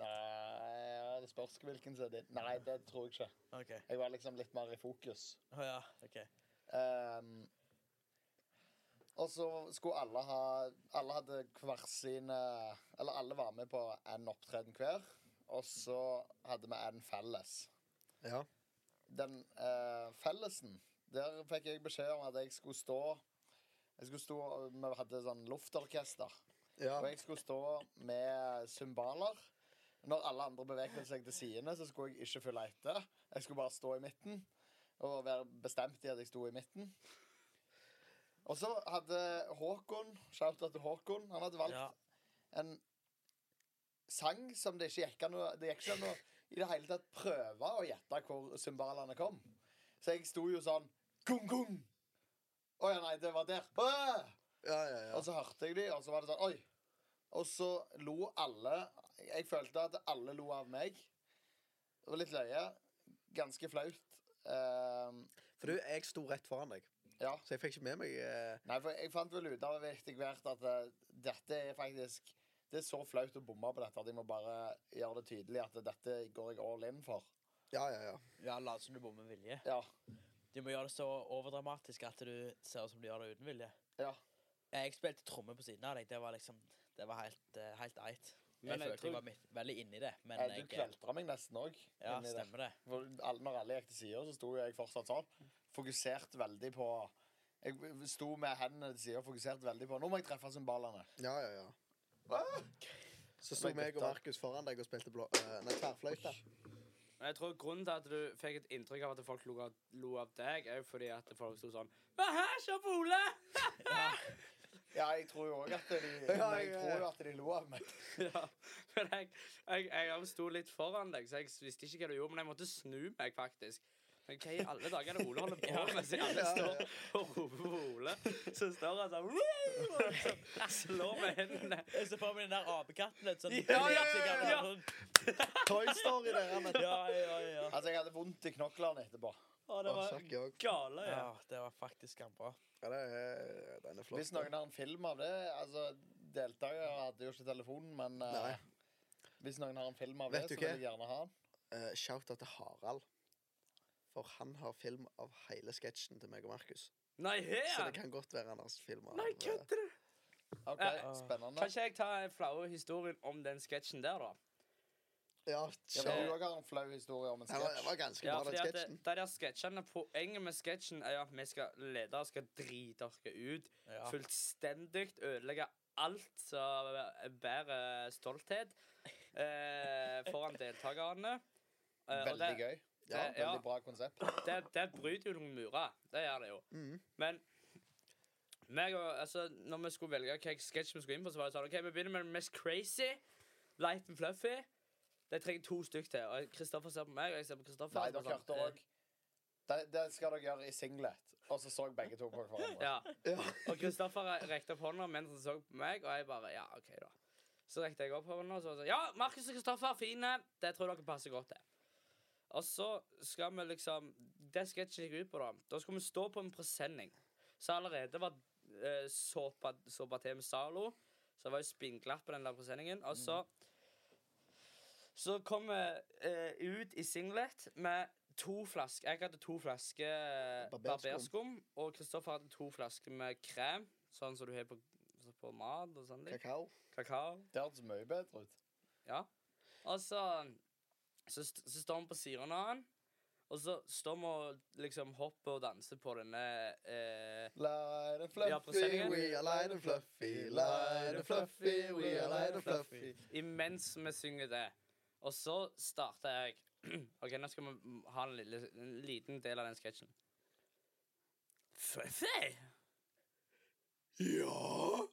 Speaker 3: Nei, det spørs hvilken som er din. Nei, det tror jeg ikke.
Speaker 4: OK.
Speaker 3: Jeg var liksom litt mer i fokus.
Speaker 4: Å ja. ok.
Speaker 3: Ehm, og så skulle alle ha Alle hadde hver sine Eller alle var med på en opptreden hver. Og så hadde vi en felles.
Speaker 1: ja.
Speaker 3: Den eh, fellesen, der fikk jeg beskjed om at jeg skulle stå Jeg skulle stå Vi hadde sånn luftorkester.
Speaker 1: ja.
Speaker 3: Og jeg skulle stå med cymbaler. Når alle andre bevegde seg til sidene, så skulle jeg ikke følge etter. Jeg skulle bare stå i midten og være bestemt i at jeg sto i midten. Og så hadde Håkon shout out til Håkon, han hadde valgt
Speaker 4: Ja.
Speaker 3: en sang som det ikke gikk an å Det gikk ikke an å i det hele tatt prøve å gjette hvor cymbalene kom. Så jeg sto jo sånn Gung, gung! Å ja, nei, det var der. Åh!
Speaker 1: Ja, ja, ja.
Speaker 3: Og så hørte jeg de, og så var det sånn Oi! Og så lo alle. Jeg følte at alle lo av meg. Det var litt løye. Ganske flaut. Ehm,
Speaker 1: For du, jeg sto rett foran deg,
Speaker 3: ja.
Speaker 1: så jeg fikk ikke med meg eh,
Speaker 3: Nei, for jeg fant vel ut av etter hvert at eh, dette er faktisk Det er så flaut å bomme på dette at jeg må bare gjøre det tydelig at dette går jeg all in for.
Speaker 1: Ja, ja, ja.
Speaker 4: Ja, Lat som du bommer med vilje.
Speaker 3: Ja.
Speaker 4: Du må gjøre det så overdramatisk at du ser ut som du gjør det uten vilje.
Speaker 3: Ja.
Speaker 4: Jeg spilte tromme på siden av deg. Det var liksom Det var helt, eh, helt eit. Jeg
Speaker 2: Men jeg
Speaker 4: følte jeg
Speaker 2: tror-
Speaker 4: var midt, veldig inni det, men
Speaker 3: Eh,
Speaker 4: jeg
Speaker 3: du kveltra meg nesten òg.
Speaker 4: Ja, stemmer det.
Speaker 3: Når alle gikk til sida, så sto jo jeg fortsatt sånn. Fokusert veldig på Jeg sto med hendene til sida og fokusert veldig på Nå må jeg treffe symbalene.
Speaker 1: ja, ja, ja. Så sto
Speaker 3: Det var
Speaker 1: meg og
Speaker 3: gutta.
Speaker 1: Markus foran deg og spilte blå... eh, nei, tverrfløyte.
Speaker 2: Men jeg tror grunnen til at du fikk et inntrykk av at folk lo av, lo av deg, er jo fordi at folk sto sånn Hva her, se på Ole!
Speaker 3: Ja, jeg tror jo òg at de
Speaker 1: Ja, ja,
Speaker 3: Jeg
Speaker 1: ja.
Speaker 3: tror jo at de lo av meg.
Speaker 2: ja. Men jeg, jeg, jeg sto litt foran deg, så jeg visste ikke hva du gjorde, men jeg måtte snu meg, faktisk. Men Hva i alle dager er det Ole holder på med, siden alle
Speaker 1: Ja, ja,
Speaker 2: står og roper på Ole? Så står han sånn «Woo!» og så slår med hendene.
Speaker 4: Jeg ser for meg den der apekatten. vet du, Sånn,
Speaker 2: Ja, ja, ja, ja.
Speaker 1: Toy Story, dere. men-
Speaker 4: ja, ja, ja.
Speaker 3: Altså, jeg hadde vondt i knoklene etterpå.
Speaker 2: Å, det
Speaker 1: Å,
Speaker 2: var
Speaker 1: Sakk jeg òg.
Speaker 2: gale. Ja.
Speaker 4: Ja, det var faktisk skambra.
Speaker 1: Ja, det er- den er flott.
Speaker 3: Hvis noen har en film av det altså, Deltakere hadde jo ikke telefonen, men eh,
Speaker 1: Nei.
Speaker 3: hvis noen har en film av
Speaker 1: Vet
Speaker 3: det,
Speaker 1: du
Speaker 3: så vil
Speaker 1: hva?
Speaker 3: jeg gjerne ha den.
Speaker 1: Eh, Shout-out til Harald. For han har film av hele sketsjen til meg og Markus.
Speaker 2: Nei,
Speaker 1: Så det
Speaker 2: her!
Speaker 1: kan godt være han har film av
Speaker 2: Nei,
Speaker 1: eh,
Speaker 2: kødder du?
Speaker 3: OK,
Speaker 2: Ja.
Speaker 3: spennende.
Speaker 2: Kan ikke jeg ta en flaue historien om den sketsjen der, da?
Speaker 1: Ja,
Speaker 3: Ja,
Speaker 1: så,
Speaker 3: men
Speaker 1: det,
Speaker 3: du
Speaker 1: var,
Speaker 3: òg har en flau historie om en
Speaker 1: det
Speaker 3: sketsj.
Speaker 1: var ganske
Speaker 2: Ja,
Speaker 1: bra,
Speaker 2: fordi
Speaker 1: den
Speaker 2: at
Speaker 1: sketsjen.
Speaker 2: det, de der sketsjene, Poenget med sketsjen er jo at vi skal ledere skal drite oss ut.
Speaker 4: Ja.
Speaker 2: Fullstendig ødelegge alt som bærer stolthet eh, foran deltakerne. Eh, og
Speaker 3: Veldig
Speaker 2: det,
Speaker 3: gøy.
Speaker 1: Ja,
Speaker 2: det- ja.
Speaker 3: Veldig bra konsept.
Speaker 2: det, det bryter jo noen murer. Det gjør det jo.
Speaker 3: Mm.
Speaker 1: Mhm.
Speaker 2: Men meg og, altså, når vi skulle velge hvilken sketsj vi skulle inn på, så var det sånn OK, vi begynner med den mest crazy. Light and fluffy. Det trenger to stykk til. Og Kristoffer ser på meg, og jeg ser på Kristoffer.
Speaker 3: Nei,
Speaker 2: og så
Speaker 3: dere
Speaker 2: sånn,
Speaker 3: hørte
Speaker 2: eh,
Speaker 3: òg det, det skal dere gjøre i singlet. Og så så begge to på hverandre.
Speaker 2: Ja.
Speaker 1: Ja.
Speaker 2: Og Kristoffer re- rekte opp hånda mens han så på meg, og jeg bare Ja, OK, da. Så rekte jeg opp hånda og så var det sånn Ja, Markus og Kristoffer, fine. Det tror jeg dere passer godt til. Og så skal vi liksom Det sketsjen gikk ut på, da. Da skulle vi stå på en presenning. Så allerede var eh, såpa, såpa til med Zalo. Så det var jo spinnglatt på den der presenningen. Og så Så kom vi eh, ut i singlet med to flasker Jeg hadde to flasker eh,
Speaker 1: Barberskum.
Speaker 2: barberskum, og Kristoffer hadde to flasker med krem, sånn som du har på, på mat og sånn. litt.
Speaker 1: Kakao.
Speaker 2: Kakao.
Speaker 3: Det hørtes mye bedre ut.
Speaker 2: Ja. Og så, så, st- så står vi på siden av han, og så står vi og liksom hopper og danser på denne eh,
Speaker 3: Light and fluffy,
Speaker 2: Ja, presenningen.
Speaker 3: we are light and fluffy. Light and fluffy, we are light and fluffy.
Speaker 2: imens vi synger det. Og så starter jeg. OK, nå skal vi m- ha en, lille, en liten del av den sketsjen. Fluffy!
Speaker 1: Ja,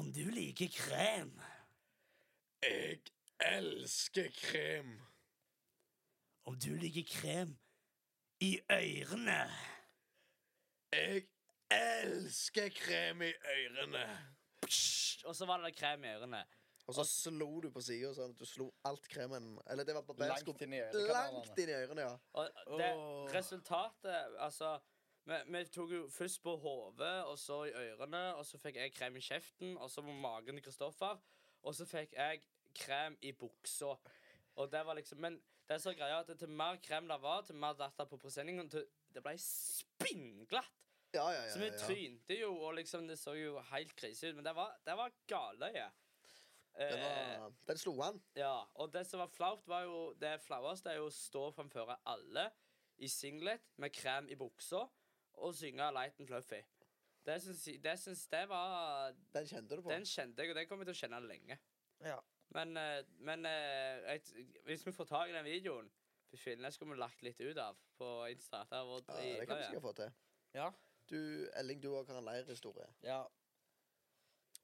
Speaker 2: Om du liker krem,
Speaker 1: jeg elsker krem.
Speaker 2: om du liker krem i ørene
Speaker 1: Jeg elsker krem i ørene.
Speaker 2: Og så var det krem i ørene.
Speaker 1: Og så slo du på sida sånn at du slo alt kremen Eller det var barberskum.
Speaker 3: Langt inn i
Speaker 1: Langt
Speaker 3: øyekanalene.
Speaker 1: inn i ørene, ja.
Speaker 2: Og det
Speaker 4: Åh.
Speaker 2: resultatet Altså, vi, vi tok jo først på hodet, og så i ørene, og så fikk jeg krem i kjeften, og så på magen til Kristoffer, og så fikk jeg krem i buksa. Og det var liksom Men det som er greia, er at til mer krem det var, til mer datt det på presenningen, til det ble spinnglatt.
Speaker 1: Ja, ja,
Speaker 2: Så
Speaker 1: ja,
Speaker 2: vi
Speaker 1: ja, ja.
Speaker 2: trynte jo, og liksom det så jo helt krise ut, men det var, det var Eh, galøye.
Speaker 1: Den, var, den slo han.
Speaker 2: Ja, og det som var flaut, var jo Det flaueste er jo å stå framfor alle i singlet med krem i buksa og synge Light and Fluffy. Det syns, jeg- det syns det var
Speaker 1: Den kjente du på.
Speaker 2: Den kjente jeg, og den kommer jeg til å kjenne lenge.
Speaker 4: Ja.
Speaker 2: Men, eh, men eh, jeg, hvis vi får tak i den videoen Fy fillen, den skulle vi lagt litt ut av på Insta. Det var
Speaker 1: Ja, det kan vi
Speaker 2: dritløye.
Speaker 1: sikkert få til.
Speaker 4: Ja.
Speaker 1: Du, Elling, du òg har en leirhistorie.
Speaker 4: ja.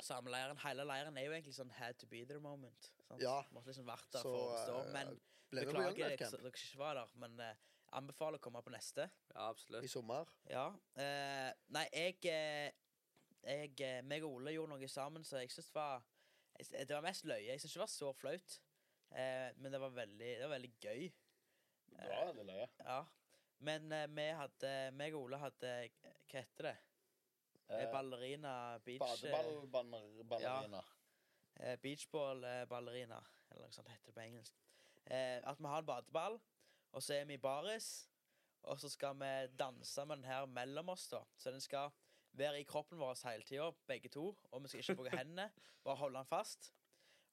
Speaker 4: samme leiren. Hele leiren er jo egentlig sånn had to be there moment. Sant?
Speaker 1: Ja.
Speaker 4: Måtte liksom vært der for å forstå.
Speaker 1: eh,
Speaker 4: Men
Speaker 1: ble med på Young
Speaker 4: beklager
Speaker 1: Life
Speaker 4: jeg ikke-
Speaker 1: Camp
Speaker 4: dere ikke var der, men eh, anbefaler å komme på neste.
Speaker 2: Ja, absolutt.
Speaker 1: i sommer.
Speaker 4: Ja. eh, nei, jeg, eh, jeg eh, meg og Ole gjorde noe sammen, så jeg syns det var jeg sy- Det var mest løye. Jeg syns ikke det var så flaut. Eh, men det var veldig, det var veldig gøy.
Speaker 3: Det var veldig løye.
Speaker 4: Ja. Men eh, vi hadde meg og Ole hadde Hva heter det? Eh,
Speaker 3: Eh,
Speaker 4: ballerina beach eh,
Speaker 3: Badeballballerina.
Speaker 4: eh, Beachball eh, ballerina, eller noe sånt heter det på engelsk. Eh, at vi har en badeball, og så er vi i baris, og så skal vi danse med den her mellom oss, da. Så den skal være i kroppen vår hele tida, begge to, og vi skal ikke bruke hendene, bare holde den fast.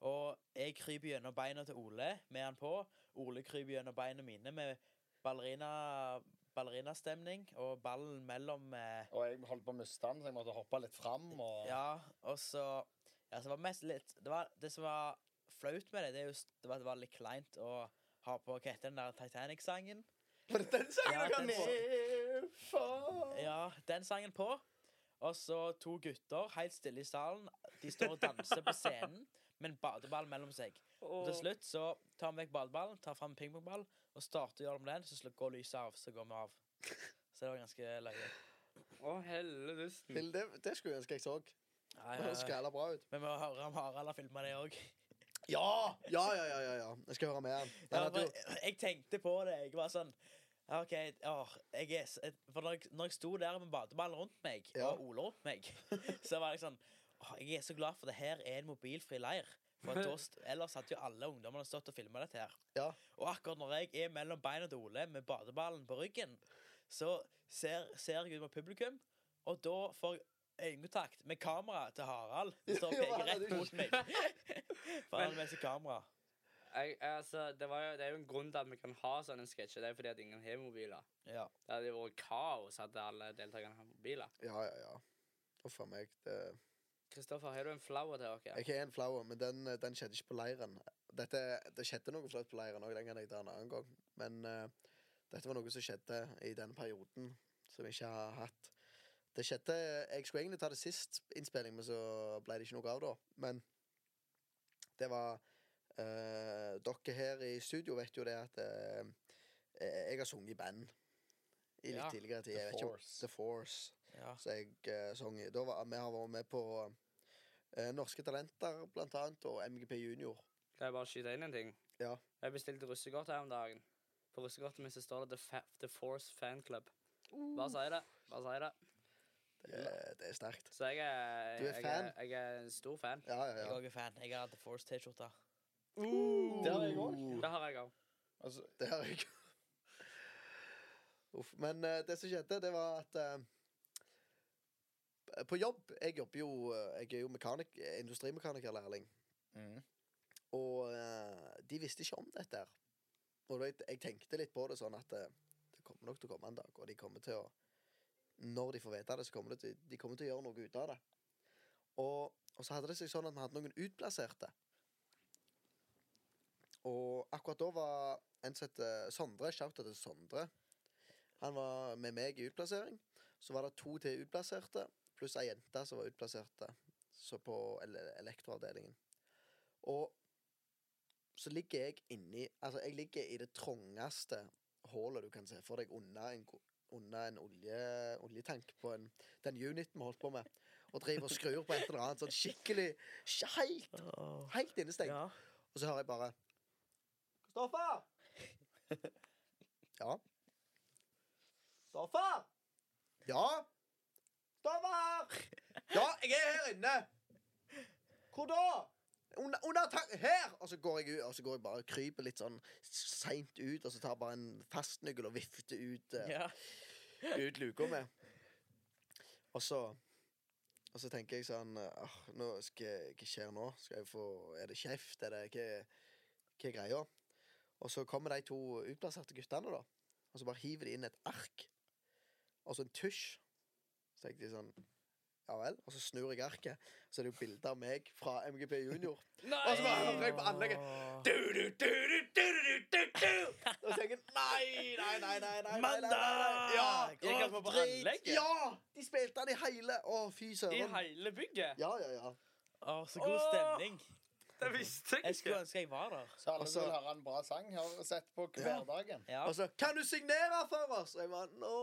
Speaker 4: Og jeg kryper gjennom beina til Ole med han på. Ole kryper gjennom beina mine med ballerina ballerinastemning og ballen mellom eh,
Speaker 3: Og jeg holdt på å miste den, så jeg måtte hoppe litt fram. Og...
Speaker 4: ja, og så ja, så det, var mest litt, det, var, det som var flaut med det, det, er jo, s- det var at det var litt kleint å ha på hva heter den der Titanic-sangen.
Speaker 1: Var det den sangen
Speaker 4: Ja, den
Speaker 1: dere hadde på?
Speaker 3: If I-
Speaker 4: Ja, den sangen på. Og så to gutter helt stille i salen. De står og danser på scenen med en badeball mellom seg. Og til slutt så tar vi vekk badeballen, tar fram pingpongball og starter å gjøre det med den. Så slår, går lyset av, så går vi av. Så det var ganske løye.
Speaker 2: Å, helledusten.
Speaker 1: Til Det, det skulle jeg ønske jeg så.
Speaker 4: Ja,
Speaker 1: Det
Speaker 4: ja,
Speaker 1: høres
Speaker 4: ja.
Speaker 1: skræla bra ut.
Speaker 4: Men vi må høre om Harald har filma det òg.
Speaker 1: Ja! Ja, ja, ja, ja, ja. Jeg skal høre med han. Den
Speaker 4: Ja,
Speaker 1: hadde jo-
Speaker 4: for jeg- jeg tenkte på det. Jeg var sånn ja, OK. åh, jeg er, s- for når jeg, når jeg sto der med badeballen rundt meg,
Speaker 1: Ja.
Speaker 4: og Ole rundt meg, så var jeg sånn åh, Jeg er så glad for det her er en mobilfri leir. For at da st- ellers hadde jo alle ungdommene stått og filma dette her.
Speaker 1: Ja.
Speaker 4: Og akkurat når jeg er mellom beina til Ole med badeballen på ryggen, så ser, ser jeg ut mot publikum, og da får jeg øyekontakt med kameraet til Harald. som Står og
Speaker 1: Ja,
Speaker 4: peker
Speaker 1: Harald,
Speaker 4: rett
Speaker 1: du-
Speaker 4: mot meg. For han har med seg kamera.
Speaker 2: Jeg, altså, det, var jo, det er jo en grunn til at vi kan ha sånne sketsjer. Det er fordi at ingen har mobiler.
Speaker 4: Ja.
Speaker 2: Det hadde jo vært kaos hadde alle deltakerne hatt mobiler.
Speaker 1: Ja, ja, ja. Uff a meg. Det
Speaker 2: Kristoffer, har du en flau til oss?
Speaker 1: Jeg har en flau, men den, eh, den skjedde ikke på leiren. Dette, det skjedde noe flaut på leiren òg, den kan jeg ta en annen gang. Men eh, dette var noe som skjedde i denne perioden, som jeg ikke har hatt. Det skjedde Jeg skulle egentlig ta det sist innspilling, men så ble det ikke noe av da. Men det var eh, Dere her i studio vet jo det at eh, jeg har sunget i band i litt
Speaker 4: Ja,
Speaker 1: tidligere tid.
Speaker 3: The
Speaker 1: Jeg vet ikke om-
Speaker 3: Force.
Speaker 1: The Force.
Speaker 4: ja.
Speaker 1: Så jeg eh, sang i. Da var, vi har vært med på eh, Norske Talenter, blant annet, og MGP Junior.
Speaker 2: Kan jeg bare skyte inn en ting?
Speaker 1: Ja.
Speaker 2: Jeg bestilte russekort her om dagen. På russekortet mitt så står det The, Fa The Force Fan Club. Bare si det. Bare si det.
Speaker 1: Det, er- Eh, det er sterkt.
Speaker 2: Så jeg er,
Speaker 1: Du er
Speaker 2: jeg,
Speaker 1: fan?
Speaker 2: er, jeg er en stor fan.
Speaker 1: Ja, ja,
Speaker 4: Jeg
Speaker 1: ja.
Speaker 4: er også fan. Jeg har The Force-T-skjorte.
Speaker 3: Det har jeg òg.
Speaker 2: Det har jeg òg.
Speaker 3: Altså,
Speaker 1: Det har jeg. Uff. Men eh, det som skjedde, det var at eh, På jobb Jeg jobber jo eh, Jeg er jo mekanik, industrimekanikerlærling.
Speaker 3: mm.
Speaker 1: Og eh, de visste ikke om dette. her. Og da jeg, jeg tenkte litt på det sånn at eh, det kommer nok til å komme en dag, og de kommer til å Når de får vite det, så kommer det til, de kommer til å gjøre noe ut av det. Og, og så hadde det seg sånn at vi hadde noen utplasserte. Og akkurat da var en som heter Sondre, shouta til Sondre. Han var med meg i utplassering. Så var det to til utplasserte, pluss ei jente som var utplasserte så på ele elektroavdelingen. Og så ligger jeg inni Altså, jeg ligger i det trangeste hullet du kan se for deg under en, ko- under en olje, oljetank på en, den uniten vi holdt på med, og driver og skrur på et eller annet sånn skikkelig sk- Helt, helt innestengt.
Speaker 4: Ja.
Speaker 1: Og så hører jeg bare Kristoffer! ja. Kristoffer! Ja? Kristoffer! Ja, jeg er her inne! Hvor da? Under, under ta Her! Og så går jeg ut, og så går jeg bare og kryper litt sånn seint ut, og så tar jeg bare en fastnøkkel og vifter ut, eh,
Speaker 4: Ja.
Speaker 1: ut luka med. Og så og så tenker jeg sånn «Åh, nå skal, jeg- Hva skjer nå? Skal jeg få, er det kjeft? Er det, hva, hva er greia? Og så kommer de to utplasserte guttene, da. Og så bare hiver de inn et ark. Og så en tusj. Så tenkte jeg sånn Ja vel? Og så snur jeg arket, så er det jo bilde av meg fra MGP Junior. Og så bare hører jeg på anlegget
Speaker 4: Åh.
Speaker 1: du, du, du, du, du, du, du, du. Og så tenker jeg nei, nei, nei, nei, nei, nei, nei, nei, nei. Ja,
Speaker 4: Mandag! Gikk han på
Speaker 1: drit.
Speaker 4: anlegget?
Speaker 1: Ja! De spilte den i hele Å, fy
Speaker 2: I
Speaker 1: søren.
Speaker 2: hele bygget?
Speaker 1: Ja, ja, ja.
Speaker 4: Å, så god stemning.
Speaker 2: Det visste
Speaker 4: Jeg skulle ønske jeg var der.
Speaker 3: Så alle
Speaker 1: Også-
Speaker 3: vil høre en bra sang, har sett på hverdagen.
Speaker 4: Ja.
Speaker 1: Og så Altså, 'Kan du signere for oss?' Og jeg bare Nå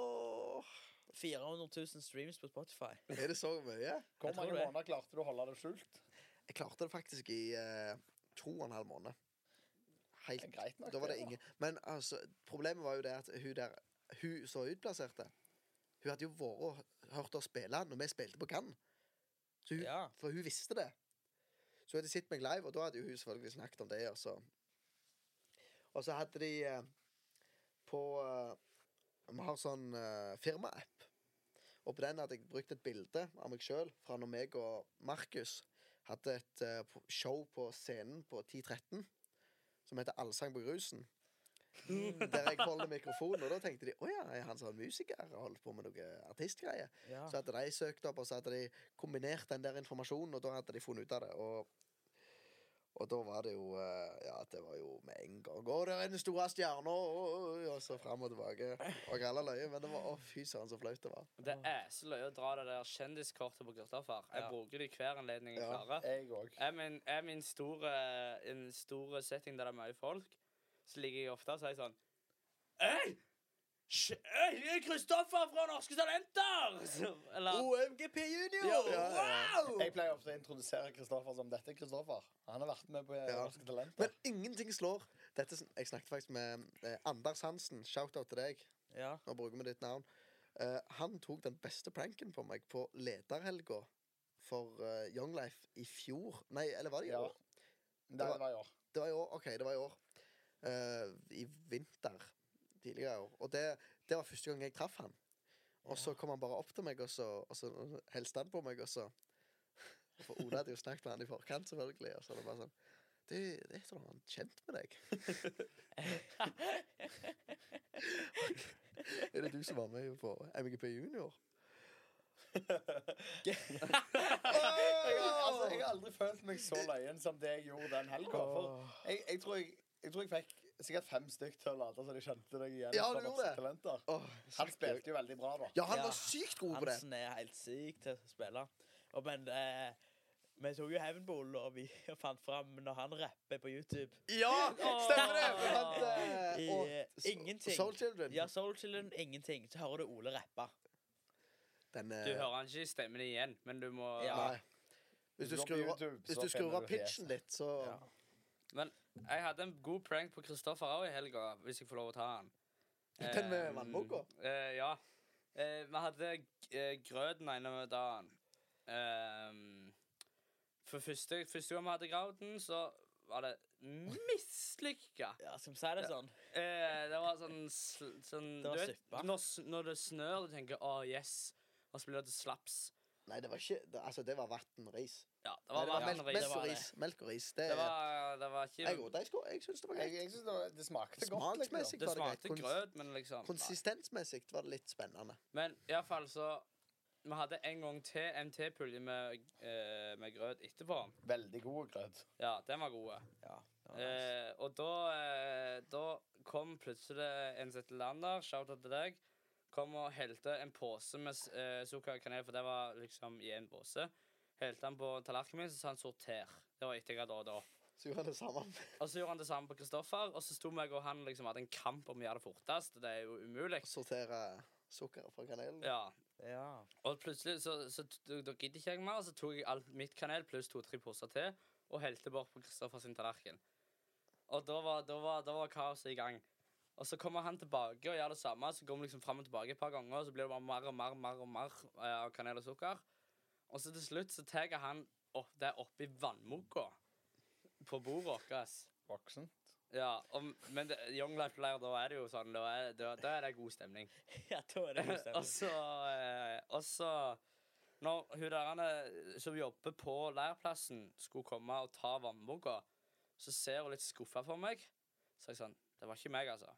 Speaker 4: 400 000 streams på Spotify.
Speaker 1: Er det så mye?
Speaker 3: Hvor
Speaker 4: Jeg tror
Speaker 3: mange
Speaker 4: det.
Speaker 3: måneder klarte du å holde det skjult?
Speaker 1: Jeg klarte det faktisk i eh, to og en halv måned. Helt
Speaker 3: Det er greit nok.
Speaker 1: Da var det
Speaker 3: da.
Speaker 1: ingen Men altså, problemet var jo det at hun der Hun som utplasserte, hun hadde jo vært og hørt oss spille når vi spilte på Cannes. Så hun,
Speaker 4: Ja.
Speaker 1: For hun visste det. Så hun hadde sett meg live, og da hadde jo hun selvfølgelig snakket om det. Og så, og så hadde de eh, på eh, Vi har sånn eh, firmaapp. Og på den hadde jeg brukt et bilde av meg sjøl fra når meg og Markus hadde et eh, på- show på scenen på 1013 som heter Allsang på grusen. Der jeg holder mikrofonen, og da tenkte de å ja, er han sånn musiker og holder på med noe artistgreier?
Speaker 4: Ja.
Speaker 1: Så hadde de søkt opp, og så hadde de kombinert den der informasjonen, og da hadde de funnet ut av det. Og, og da var det jo eh, Ja, det var jo med en gang Å, der er den store stjerna! å, å, å», Og så fram og tilbake. Og alle løye. Men det var å, fy søren, så flaut det var.
Speaker 2: Det er så løye å dra det der kjendiskortet på Guttafar. Jeg
Speaker 4: Ja.
Speaker 2: bruker det i hver anledning jeg
Speaker 1: Ja.
Speaker 2: klarer.
Speaker 3: Jeg òg.
Speaker 2: Jeg min, jeg min store, en stor setting der det er mye folk, så ligger jeg ofte og sier sånn Hei! Sj- hei, det er Kristoffer fra Norske Talenter! Så- Eller
Speaker 1: OMGP Junior!
Speaker 2: Oh, Ja,
Speaker 1: Ja, ja, ja.
Speaker 2: wow!
Speaker 3: Jeg pleier ofte å introdusere Kristoffer som dette er Kristoffer. Han har vært med på
Speaker 1: Ja.
Speaker 3: Norske Talenter.
Speaker 1: Men ingenting slår. Dette, sn- jeg snakket faktisk med eh, Anders Hansen. Shout-out til deg.
Speaker 4: ja.
Speaker 1: Nå bruker vi ditt navn. Eh, han tok den beste pranken på meg på lederhelga for eh, Young Life i fjor. Nei, eller var det i
Speaker 3: Ja.
Speaker 1: år?
Speaker 3: Det var i år.
Speaker 1: Det var i år. OK, det var i år. Eh, I vinter tidligere i år. Og det, det var første gang jeg traff han. Og så kom han bare opp til meg, og så, og så hilste han på meg, og så For Ola hadde jo snakket med han i forkant, selvfølgelig. Og så var det bare sånn Du, jeg tror han er kjent med deg. er det du som var med på MGP Junior?
Speaker 3: Jeg har, altså, jeg har aldri følt meg så løyen som det jeg gjorde den helga. Jeg, jeg, tror jeg, jeg tror jeg fikk sikkert fem stykk til å late så de kjente deg igjen.
Speaker 1: Ja,
Speaker 3: fra
Speaker 1: du gjorde
Speaker 3: Norske
Speaker 1: det.
Speaker 3: Talenter.
Speaker 1: Åh,
Speaker 3: Han spilte jo veldig bra, da.
Speaker 1: ja, han
Speaker 4: Ja.
Speaker 1: var sykt god på det.
Speaker 4: Hansen er helt syk til å spille. Og, men eh, vi tok jo hevn på Olle, og vi fant fram når han rapper på YouTube.
Speaker 1: Ja, stemmer det! For han, eh,
Speaker 4: I,
Speaker 1: og,
Speaker 4: eh, ingenting.
Speaker 1: Soul Children.
Speaker 4: Ja, Soul Children, ingenting. Så hører du Ole rappe.
Speaker 1: Den,
Speaker 2: Du
Speaker 1: eh,
Speaker 2: hører han ikke i stemmen igjen, men du må
Speaker 4: Ja.
Speaker 1: Nei. Hvis du
Speaker 3: Gå på
Speaker 1: skrur av,
Speaker 3: YouTube,
Speaker 1: hvis
Speaker 3: så
Speaker 1: du skrur
Speaker 3: finner
Speaker 1: av
Speaker 3: du
Speaker 1: pitchen
Speaker 3: fjeset.
Speaker 1: litt, så
Speaker 4: Ja.
Speaker 2: Jeg hadde en god prank på Kristoffer òg i helga, hvis jeg får lov å ta den.
Speaker 1: Den med
Speaker 2: Eh,
Speaker 1: vannboka?
Speaker 2: eh, ja. Eh, vi hadde eh, grøten ene dagen. Eh, for første, første gang vi hadde grauten, så var det mislykka.
Speaker 4: Ja, skal vi si det sånn?
Speaker 2: Eh, det var sånn, sl- sånn
Speaker 4: Det var
Speaker 2: du vet,
Speaker 4: suppa.
Speaker 2: når, s- når det snør, du tenker 'å, yes', og så blir det til slaps.
Speaker 1: Nei, det var ikke det, Altså, det var vann og ris.
Speaker 2: Ja, det
Speaker 1: Nei,
Speaker 2: var
Speaker 1: det var
Speaker 2: bare
Speaker 1: melk,
Speaker 2: en ris.
Speaker 1: melk
Speaker 4: det
Speaker 1: og
Speaker 4: var
Speaker 1: ris. Melk og ris. Det,
Speaker 2: Det var, det var ikke
Speaker 1: jeg gjorde det. Jeg, skulle- jeg syns det var
Speaker 3: Jeg,
Speaker 1: greit.
Speaker 3: jeg synes det, var- det smakte godt.
Speaker 1: Smaksmessig
Speaker 3: Liksom.
Speaker 2: Det
Speaker 1: var det greit.
Speaker 2: smakte
Speaker 1: Kons
Speaker 2: grøt, men liksom nei.
Speaker 1: konsistensmessig var det litt spennende.
Speaker 2: Men iallfall så Vi hadde en gang til MT-pulje med, eh, med grøt etterpå.
Speaker 3: Veldig god grøt.
Speaker 2: Ja, den var god.
Speaker 4: Ja. det var nice.
Speaker 2: Eh, og da, eh, da kom plutselig en Zetlander, shout-out til deg, kom og helte en pose med s- eh, sukker og kanel, for det var liksom i en pose. Helte han på tallerkenen min, så sa han 'sorter'. Det var etter jeg hadde ordret opp.
Speaker 1: Så gjorde han det samme.
Speaker 2: Og så gjorde han det samme på Kristoffer, og så sto meg og han liksom hadde en kamp om å gjøre det fortest. og Det er jo umulig.
Speaker 1: Sortere sukker fra kanelen.
Speaker 2: Ja,
Speaker 4: ja.
Speaker 2: Og plutselig så, så t- da gidder ikke jeg mer, så tok jeg alt mitt kanel pluss to-tre poser til og helte bort på Kristoffer sin tallerken. Og da var, da var, da var kaoset i gang. Og så kommer han tilbake og gjør det samme. Så går vi liksom fram og tilbake et par ganger, og så blir det bare mer og mer mer og mer eh, av kanel og sukker. Og så til slutt så tar han opp, det oppi vannmugga på bordet vårt.
Speaker 3: Voksen.
Speaker 2: Ja, og, men det, Young Life Player, da er det jo sånn. Da er, da, da er det god stemning.
Speaker 4: ja, da er det god
Speaker 2: og
Speaker 4: stemning.
Speaker 2: så eh, Og så Når hun derene som jobber på læreplassen, skulle komme og ta vannboka, så ser hun litt skuffa på meg. Så jeg sånn Det var ikke meg, altså.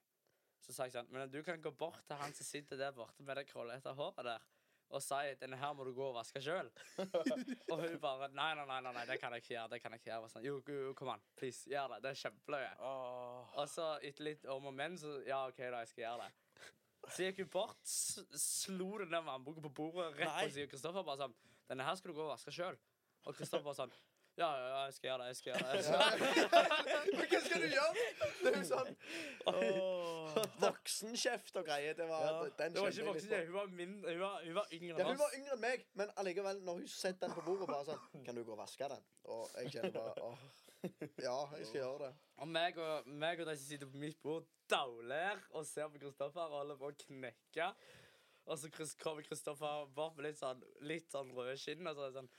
Speaker 2: Så sa jeg sånn Men du kan gå bort til han som sitter der borte med det krøllete håret der. Og si denne her må du gå og vaske sjøl. og hun bare nei, nei, nei, nei, nei, det kan jeg ikke gjøre. det kan jeg ikke gjøre. Jeg var Sånn, jo, jo, kom an, please, gjør det. Det er kjempeløye.
Speaker 4: Åh.
Speaker 2: Og så etter litt om og men, så ja, OK, da, jeg skal gjøre det. Så gikk hun bort, s- slo den der vannboka på bordet rett
Speaker 4: Nei.
Speaker 2: på siden av Kristoffer. Bare sånn 'Denne her skal du gå og vaske sjøl.' Og Kristoffer var sånn Ja, ja, ja, jeg skal gjøre det. jeg skal gjøre det.
Speaker 1: Men hva skal du gjøre? Det er jo sånn voksenkjeft og greier. Det var,
Speaker 4: Ja.
Speaker 1: den
Speaker 2: Det
Speaker 1: kjente
Speaker 2: var ikke
Speaker 1: jeg litt
Speaker 2: voksen,
Speaker 1: på.
Speaker 2: hun var, min, hun var, hun var yngre
Speaker 1: Ja,
Speaker 2: enn
Speaker 1: hun var
Speaker 2: oss.
Speaker 1: yngre enn meg, men allikevel, når hun setter den på bordet, bare sånn Kan du gå og vaske den? Og jeg kjenner bare åh, Ja, jeg skal gjøre det.
Speaker 2: Og meg og, meg og de som sitter på mitt bord, dauler og ser på Kristoffer og holder på å knekke. Og så Chris- kommer Kristoffer bort med litt sånn, litt sånn røde skinn og så er det sånn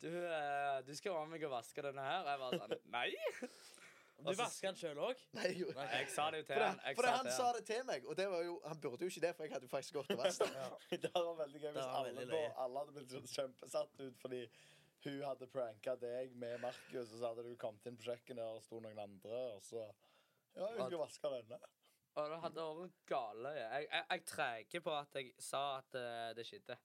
Speaker 2: du, eh, du skal være med meg og vaske denne her. Og jeg bare sånn Nei!
Speaker 4: Du vasker den sjøl òg?
Speaker 1: Nei, jeg gjorde
Speaker 2: Jeg sa det jo til
Speaker 1: for
Speaker 2: han.
Speaker 1: det,
Speaker 2: Jeg
Speaker 1: for det,
Speaker 2: sa
Speaker 1: han
Speaker 2: til
Speaker 1: sa
Speaker 2: han.
Speaker 1: det til meg, og det var jo, han burde jo ikke det, for jeg hadde jo faktisk gått og vasket den.
Speaker 3: Det hadde vært veldig gøy hvis
Speaker 4: var
Speaker 3: alle,
Speaker 4: veldig
Speaker 3: på,
Speaker 4: løye.
Speaker 3: alle hadde blitt sånn kjempesatt ut fordi hun hadde pranka deg med Markus, og så hadde du kommet inn på kjøkkenet, og det sto noen andre, og så Ja, hun skulle vaske denne.
Speaker 2: Og det hadde vært gale. Jeg, jeg, jeg treger på at jeg sa at eh, det skjedde.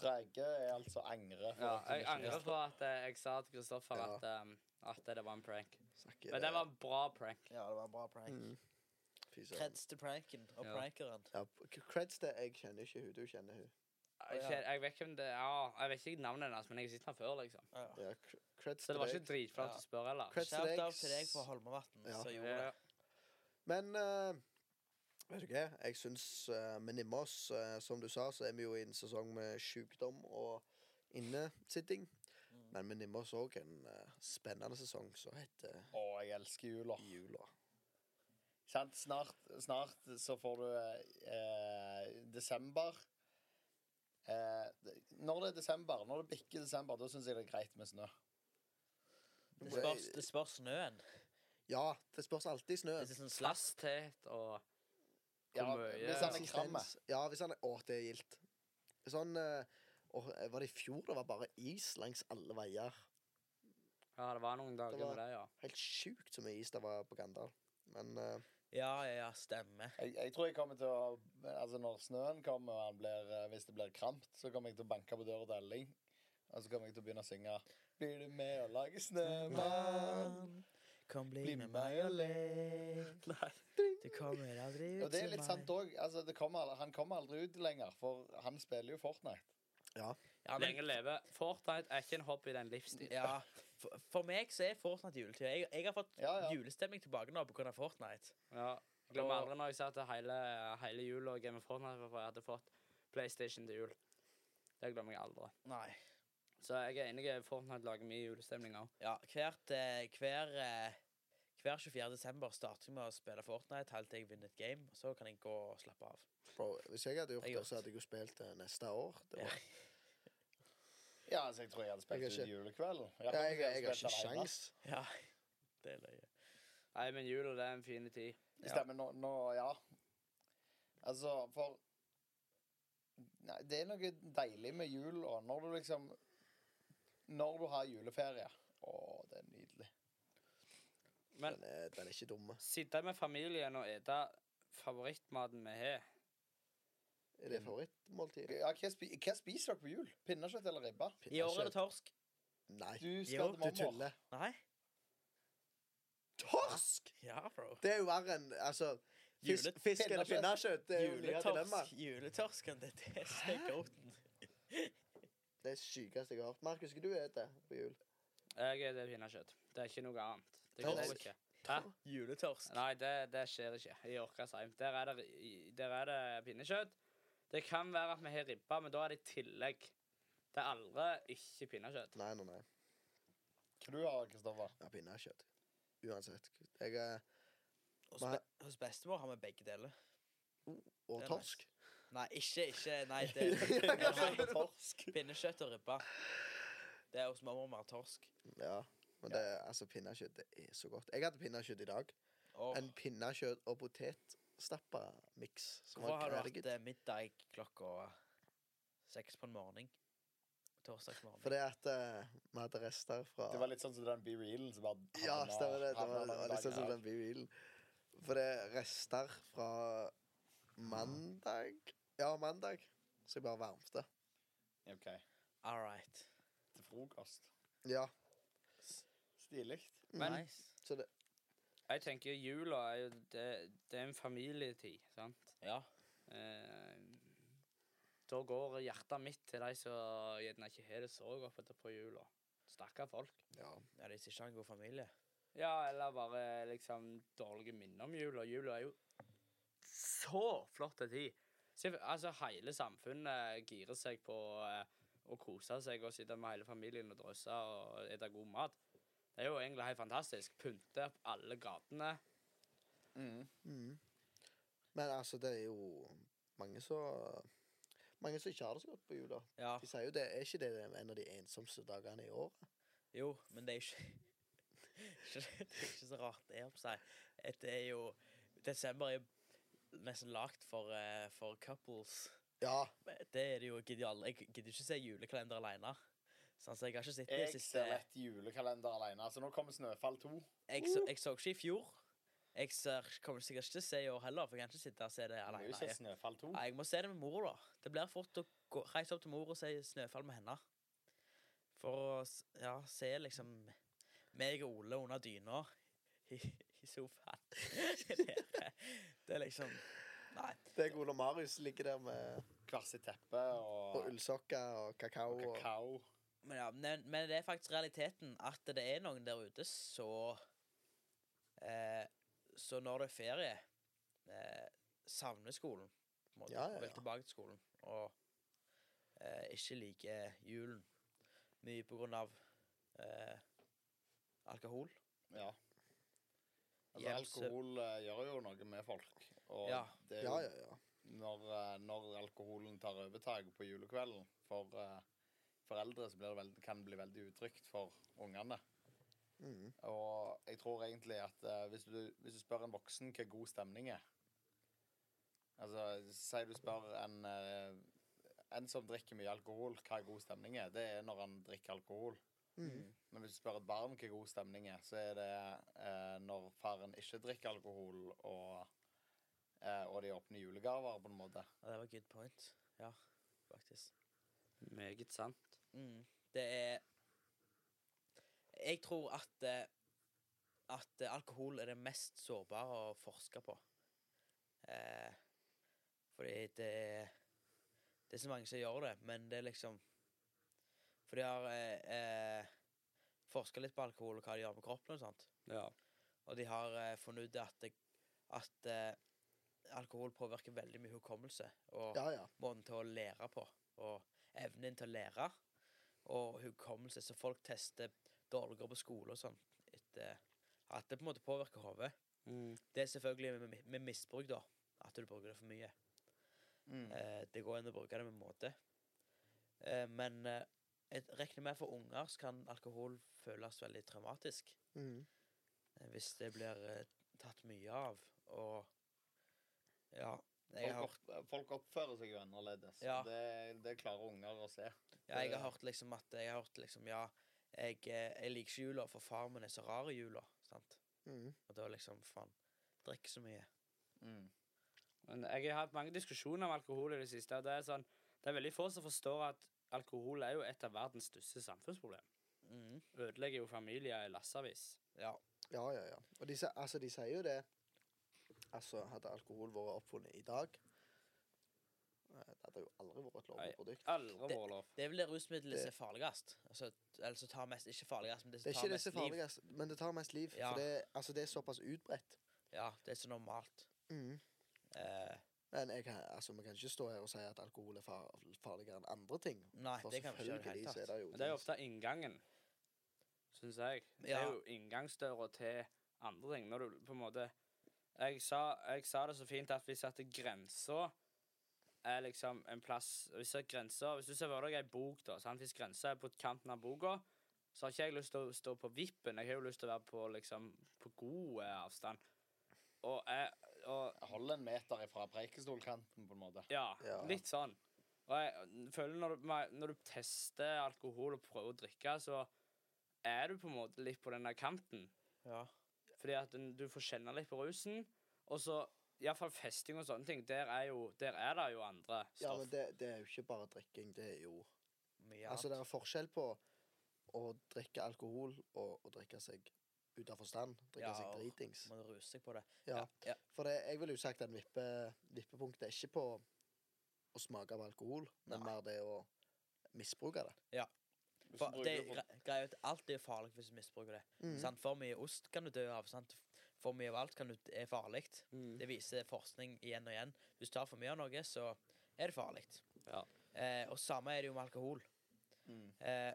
Speaker 3: Dreige er altså angre. for
Speaker 2: Ja,
Speaker 3: at hun
Speaker 2: jeg
Speaker 3: ikke
Speaker 2: angrer
Speaker 3: visste.
Speaker 2: på at eh, jeg sa til Kristoffer
Speaker 1: Ja.
Speaker 2: at, eh, at det var en prank.
Speaker 1: Snakker-
Speaker 2: Men det var en bra prank.
Speaker 5: Ja, det var en bra prank.
Speaker 1: Mm. Fy søren.
Speaker 4: Kreds til pranken og
Speaker 2: Ja.
Speaker 4: prankeren.
Speaker 1: Ja, creds til jeg kjenner ikke hun, du kjenner hun.
Speaker 2: Jeg, kjen- jeg vet ikke om det ja, Jeg vet ikke navnet hennes, men jeg har sett henne før. liksom
Speaker 4: Ja.
Speaker 1: Ja, cr- creds
Speaker 2: Så
Speaker 1: til
Speaker 2: det var
Speaker 1: deg.
Speaker 2: ikke dritflaut
Speaker 4: Ja.
Speaker 2: å spørre heller.
Speaker 1: Creds til
Speaker 4: Shout-out til deg
Speaker 1: deg.
Speaker 4: på Holmevatn
Speaker 1: Ja.
Speaker 4: som gjorde det.
Speaker 2: Ja.
Speaker 1: Men eh, vet du hva, jeg syns uh, vi nimmer oss. eh, som du sa, så er vi jo i en sesong med sykdom og innesitting. Men vi nimmer oss òg en eh, spennende sesong som heter
Speaker 3: Å, jeg elsker jula.
Speaker 1: jula.
Speaker 3: Sant? Snart, snart så får du eh, desember. Eh, det- når det er desember, når det bikker desember, da syns jeg det er greit med snø.
Speaker 4: Det spørs, det spørs snøen.
Speaker 1: Ja, det spørs alltid i
Speaker 4: Hvis
Speaker 1: snøen.
Speaker 4: det er sånn slass
Speaker 2: Fasthet og
Speaker 3: Ja,
Speaker 2: Hvor mye-
Speaker 3: hvis han er kram.
Speaker 1: Konsistens. Sånn Ja, hvis han er Å, det er gildt. Sånn eh, åh, Var det i fjor det var bare is langs alle veier?
Speaker 2: Ja, det var noen dager
Speaker 1: Det var-
Speaker 2: med det, ja.
Speaker 1: Helt sjukt så mye is det var på Gandal. Men eh,
Speaker 4: Ja, ja, ja, stemmer.
Speaker 3: Jeg, jeg tror jeg kommer til å Altså Når snøen kommer, og han blir, eh, hvis det blir kramt, så kommer jeg til å banke på døra til Elling. Og så kommer jeg til å begynne å synge Blir du med og lager snømann?
Speaker 4: Kom,
Speaker 3: Bli med meg og
Speaker 4: lek.
Speaker 2: Nei.
Speaker 4: Du kommer aldri ut
Speaker 3: Og det er litt sant òg. Altså, det kommer al- han kommer aldri ut lenger, for han spiller jo Fortnite.
Speaker 4: Ja, men,
Speaker 2: Lenge leve. Fortnite er ikke en hobby, det er en livsstil.
Speaker 4: ja, for, for meg så er Fortnite juletid. Jeg, jeg har fått
Speaker 3: Ja, ja.
Speaker 4: julestemning tilbake nå pga. Fortnite.
Speaker 2: Ja. Jeg Glemmer aldri når jeg sa at det hele, hele jula og Game of Fortnite var for jeg hadde fått PlayStation til jul. Det glemmer jeg aldri.
Speaker 4: Nei.
Speaker 2: Så jeg er enig i Fortnite lager mye julestemning òg.
Speaker 4: Ja, hvert, eh, hver, eh, hver 24. desember starter jeg med å spille Fortnite helt til jeg vinner et game. og Så kan jeg gå og slappe av.
Speaker 1: bro, hvis jeg hadde gjort
Speaker 4: Jeg
Speaker 1: det,
Speaker 4: gjort.
Speaker 1: så hadde jeg jo spilt til neste år. Det
Speaker 4: Ja.
Speaker 1: var,
Speaker 3: Ja, altså, jeg tror jeg hadde
Speaker 1: Jeg
Speaker 3: spilt
Speaker 1: er
Speaker 3: ut julekvelden.
Speaker 1: ja, jeg, jeg, har
Speaker 3: spilt
Speaker 1: ikke
Speaker 3: alene.
Speaker 1: sjans.
Speaker 4: Ja, det er løye.
Speaker 2: Nei, men jula det er en fin tid.
Speaker 3: Det
Speaker 4: Ja.
Speaker 3: stemmer. Nå, nå ja. Altså, for Nei, det er noe deilig med jul og når du liksom Når du har juleferie. Å, det er nydelig.
Speaker 2: Men
Speaker 1: Den er, den er ikke dumme.
Speaker 2: sitte med familien og ete favorittmaten vi har
Speaker 1: Er det favorittmåltidet?
Speaker 3: Ja, hva, spi hva spiser dere på jul? Pinnekjøtt eller ribbe?
Speaker 4: I år er det torsk.
Speaker 1: Nei,
Speaker 3: Du
Speaker 4: Jo,
Speaker 1: du
Speaker 3: skal til mamma.
Speaker 1: tuller.
Speaker 4: Nei?
Speaker 1: Torsk!
Speaker 4: Ja, bro.
Speaker 1: Det er jo verre enn altså, fisk,
Speaker 4: Jule-
Speaker 1: fisk eller pinnekjøtt.
Speaker 4: eh,
Speaker 1: Det er jo like dilemma.
Speaker 4: Juletorsk. Juletorsken, det er det som er goaten.
Speaker 1: Det er sykeste jeg har hørt. Markus, hva du spiser på jul?
Speaker 2: Jeg er det pinnekjøtt. Det er ikke noe annet. Det
Speaker 1: Torsk.
Speaker 2: går ikke. Hæ?
Speaker 4: Juletorsk.
Speaker 2: Nei, det, det skjer ikke i Orkasheim. Der er det, i- der er det pinnekjøtt. Det kan være at vi har ribba, men da er det i tillegg. Det er aldri ikke pinnekjøtt.
Speaker 1: Nei, nei, nei.
Speaker 3: Hva du har Kristoffer?
Speaker 1: Ja, pinnekjøtt. Uansett. Jeg eh, er
Speaker 4: Hos, be hos bestemor har vi begge deler.
Speaker 1: Og
Speaker 4: Det er
Speaker 1: torsk.
Speaker 4: Nei, ikke ikke Nei, det
Speaker 1: Ja, jeg skjønner.
Speaker 4: er torsk. Pinnekjøtt og ribbe. Det er hos mamma og mer torsk.
Speaker 1: Ja. Men det, er- altså, pinnekjøtt det er så godt. Jeg hadde pinnekjøtt i dag.
Speaker 4: Og
Speaker 1: En pinnekjøtt- og potetstappa-miks. som
Speaker 4: hvorfor
Speaker 1: var
Speaker 4: har du
Speaker 1: grædig.
Speaker 4: hatt eh, middag klokka seks på en morgen? Torsdagsmorgen.
Speaker 1: Fordi at eh, vi hadde rester fra
Speaker 3: Det var litt sånn som den Be Realen som bare
Speaker 1: Ja, stemmer det. Det var,
Speaker 3: havna
Speaker 1: det var litt
Speaker 3: dagen
Speaker 1: sånn som
Speaker 3: her.
Speaker 1: den bilen. For det er rester fra mandag Ja, mandag. Så jeg bare varmte.
Speaker 3: OK.
Speaker 4: All right.
Speaker 3: Til frokost.
Speaker 1: Ja. Mm.
Speaker 3: Stilig.
Speaker 2: Men-
Speaker 4: nice.
Speaker 1: Så det
Speaker 2: Jeg tenker jula er jo Det, det er en familietid, sant?
Speaker 4: Ja.
Speaker 2: Eh, da går hjertet mitt til de som gjerne ikke har det så godt på jula. Stakkar folk.
Speaker 1: Ja.
Speaker 4: Ja, de ikke har en god familie.
Speaker 2: Ja, eller bare liksom dårlige minner om jula. Jula er jo så flott en tid. Se, Altså, hele samfunnet girer seg på eh, å kose seg og sitte med hele familien og drøsse og spise god mat. Det er jo egentlig helt fantastisk. Pynte opp alle gatene.
Speaker 3: Mm.
Speaker 1: Mm. Men altså, det er jo mange som Mange som ikke har det så godt på jula.
Speaker 4: Ja,
Speaker 1: De sier jo det. Er ikke det en av de ensomste dagene i året?
Speaker 4: jo, men det er ikke ikke, det er ikke så rart det er på seg. Et- Det er jo Desember er jo nesten lagd for, eh, for couples.
Speaker 1: Ja.
Speaker 4: Men Det er det jo. Jeg gidder jo aldri- jeg gidder ikke se julekalender alene. Sånn, så jeg har ikke sett det
Speaker 3: Jeg
Speaker 4: siste
Speaker 3: ser rett julekalender alene. Altså, nå kommer Snøfall 2.
Speaker 4: jeg
Speaker 3: Uh.
Speaker 4: så, jeg så ikke i fjor. Jeg ser, kommer sikkert ikke til å se i år heller, for jeg kan ikke sitte og se det
Speaker 3: Må jo
Speaker 4: alene.
Speaker 3: se
Speaker 4: Jeg,
Speaker 3: Snøfall 2.
Speaker 4: Nei, jeg må se det med mor, da. Det blir fort å gå, reise opp til mor og se Snøfall med henne. For å s- ja, se liksom meg og Ole under dyna i, i sofaen. Nede. det er liksom Nei.
Speaker 1: Deg, Ole Marius, ligger der med
Speaker 3: Hver sitt teppe
Speaker 1: og
Speaker 3: og,
Speaker 1: ullsokker og kakao.
Speaker 3: og
Speaker 1: Og
Speaker 3: kakao.
Speaker 4: Men, ja, men, men det er faktisk realiteten at det er noen der ute, så eh, Så når det er ferie, eh, savner skolen. På en måte,
Speaker 1: Ja, ja,
Speaker 4: og Vil
Speaker 1: ja.
Speaker 4: tilbake til skolen. Og eh, ikke liker julen. Mye på grunn av eh, alkohol.
Speaker 3: Ja. Altså,
Speaker 4: Hjem, så-
Speaker 3: alkohol eh, gjør jo noe med folk. Og
Speaker 4: Ja.
Speaker 3: det er jo
Speaker 1: ja, ja, ja.
Speaker 3: Når, eh, når alkoholen tar overtak på julekvelden for eh, foreldre, så blir det veld, kan det bli veldig utrygt for ungene.
Speaker 1: Mm.
Speaker 3: Og jeg tror egentlig at eh, hvis, du, hvis du spør en voksen hva god stemning er Altså, Si du spør en, eh, en som drikker mye alkohol, hva god stemning er. Det er når han drikker alkohol.
Speaker 1: Mm.
Speaker 3: Men hvis du spør et barn hva god stemning er, så er det eh, når faren ikke drikker alkohol, og, eh, og de åpner julegaver, på en måte.
Speaker 4: Ja, det var good point. Ja, faktisk.
Speaker 2: Meget sant.
Speaker 4: Mm. Det er Jeg tror at eh, at eh, alkohol er det mest sårbare å forske på. Eh, fordi det er Det er så mange som gjør det, men det er liksom For de har eh, eh, forska litt på alkohol og hva de gjør med kroppen og sånt.
Speaker 2: Ja.
Speaker 4: Og de har eh, funnet ut at, det, at eh, alkohol påvirker veldig mye hukommelse. Og
Speaker 1: ja, ja.
Speaker 4: måten til å lære på, og evnen til å lære, og hukommelse. Så folk tester dårligere på skole og sånn. etter- At det på en måte påvirker hodet.
Speaker 2: Mm.
Speaker 4: Det er selvfølgelig med, mi- med misbruk, da. At du bruker det for mye.
Speaker 3: Mm.
Speaker 4: Eh, det går an å bruke det med måte. Eh, men eh, jeg regner med at for unger så kan alkohol føles veldig traumatisk.
Speaker 1: Mm.
Speaker 4: eh, Hvis det blir eh, tatt mye av, og Ja. Jeg har
Speaker 3: Folk, opp, folk oppfører seg jo annerledes.
Speaker 4: Ja.
Speaker 3: Det, det klarer unger å se.
Speaker 4: Ja, jeg
Speaker 1: Eh,
Speaker 3: Det-
Speaker 4: har hørt liksom at Jeg har hørt liksom, ja Jeg, eh, jeg liker ikke jula, for far min er så rar i jula. Sant?
Speaker 1: Mm.
Speaker 4: Og da liksom, faen Drikker så mye. Mm.
Speaker 2: Men jeg har hatt mange diskusjoner om alkohol i det siste. og Det er, sånn, det er veldig få som forstår at alkohol er jo et av verdens største samfunnsproblem.
Speaker 1: Mm.
Speaker 4: Mhm.
Speaker 2: Ødelegger jo familier i lassevis.
Speaker 4: Ja.
Speaker 1: Ja, ja, ja. Og de, sier- altså, de sier jo det Altså, hadde alkohol vært oppfunnet i dag eh, Det hadde jo aldri vært et lovlig
Speaker 2: Nei.
Speaker 1: produkt.
Speaker 2: Aldri vært lov.
Speaker 4: Det er vel det rusmiddelet som
Speaker 1: Det-
Speaker 4: er farligst. Altså, eller som tar mest Ikke farligst, men det
Speaker 1: Det
Speaker 4: som
Speaker 1: er
Speaker 4: tar
Speaker 1: ikke det
Speaker 4: mest
Speaker 1: som er
Speaker 4: liv.
Speaker 1: farligst, men det tar mest liv.
Speaker 4: Ja.
Speaker 1: For det, altså, det er såpass utbredt.
Speaker 4: Ja, det er så normalt.
Speaker 1: Mm.
Speaker 4: Eh,
Speaker 1: Men jeg kan, altså, vi kan ikke stå her og si at alkohol er far, farligere enn andre ting.
Speaker 4: nei,
Speaker 1: For
Speaker 4: det kan vi ikke gjøre i
Speaker 1: selvfølgelig
Speaker 4: det
Speaker 1: så er
Speaker 4: hele tatt.
Speaker 1: det jo
Speaker 2: Men det er jo
Speaker 1: ting-
Speaker 2: ofte inngangen, syns jeg. Det
Speaker 4: Ja.
Speaker 2: er jo inngangsdøra til andre ting. Når du på en måte Jeg sa, jeg sa det så fint at hvis at grensa er liksom en plass Hvis at grensa Hvis du ser for deg ei bok, da sant? Hvis grensa er på kanten av boka, så har ikke jeg lyst til å stå på vippen. Jeg har jo lyst til å være på liksom på god eh, avstand. Og jeg og,
Speaker 3: Hold en meter ifra preikestolkanten, på en måte.
Speaker 2: ja,
Speaker 1: Ja.
Speaker 2: litt sånn. Og jeg føler når du, ma- når du tester alkohol og prøver å drikke, så er du på en måte litt på den der kanten.
Speaker 4: Ja.
Speaker 2: Fordi at den, du får kjenne litt på rusen. Og så iallfall festing og sånne ting. Der er, jo, der er det jo andre
Speaker 1: Ja, men
Speaker 2: stoff.
Speaker 1: det, det er jo ikke bare drikking. Det er jo
Speaker 4: Mye
Speaker 1: Altså, det
Speaker 4: annet.
Speaker 1: er forskjell på å drikke alkohol og å drikke seg ut av forstand. Drikke
Speaker 4: Ja,
Speaker 1: seg
Speaker 4: og-
Speaker 1: dritings.
Speaker 4: Må ruse seg på det.
Speaker 1: Ja.
Speaker 4: ja.
Speaker 1: For det, jeg ville jo sagt at en vippe, vippepunkt er ikke på å smake av alkohol, men
Speaker 4: Nei.
Speaker 1: mer det å misbruke det.
Speaker 2: Hvis du
Speaker 4: For
Speaker 2: bruker
Speaker 4: det,
Speaker 2: det på-
Speaker 4: gre- greia er at alt er farlig hvis du misbruker det. Mm.
Speaker 1: Mm.
Speaker 4: Sant? For mye ost kan du dø av. Sant? For mye av alt kan du, er farlig.
Speaker 2: Mm.
Speaker 4: Det viser forskning igjen og igjen. Hvis du tar for mye av noe, så er det farlig.
Speaker 2: Ja.
Speaker 4: Eh, og samme er det jo med alkohol.
Speaker 1: Mm.
Speaker 4: Eh,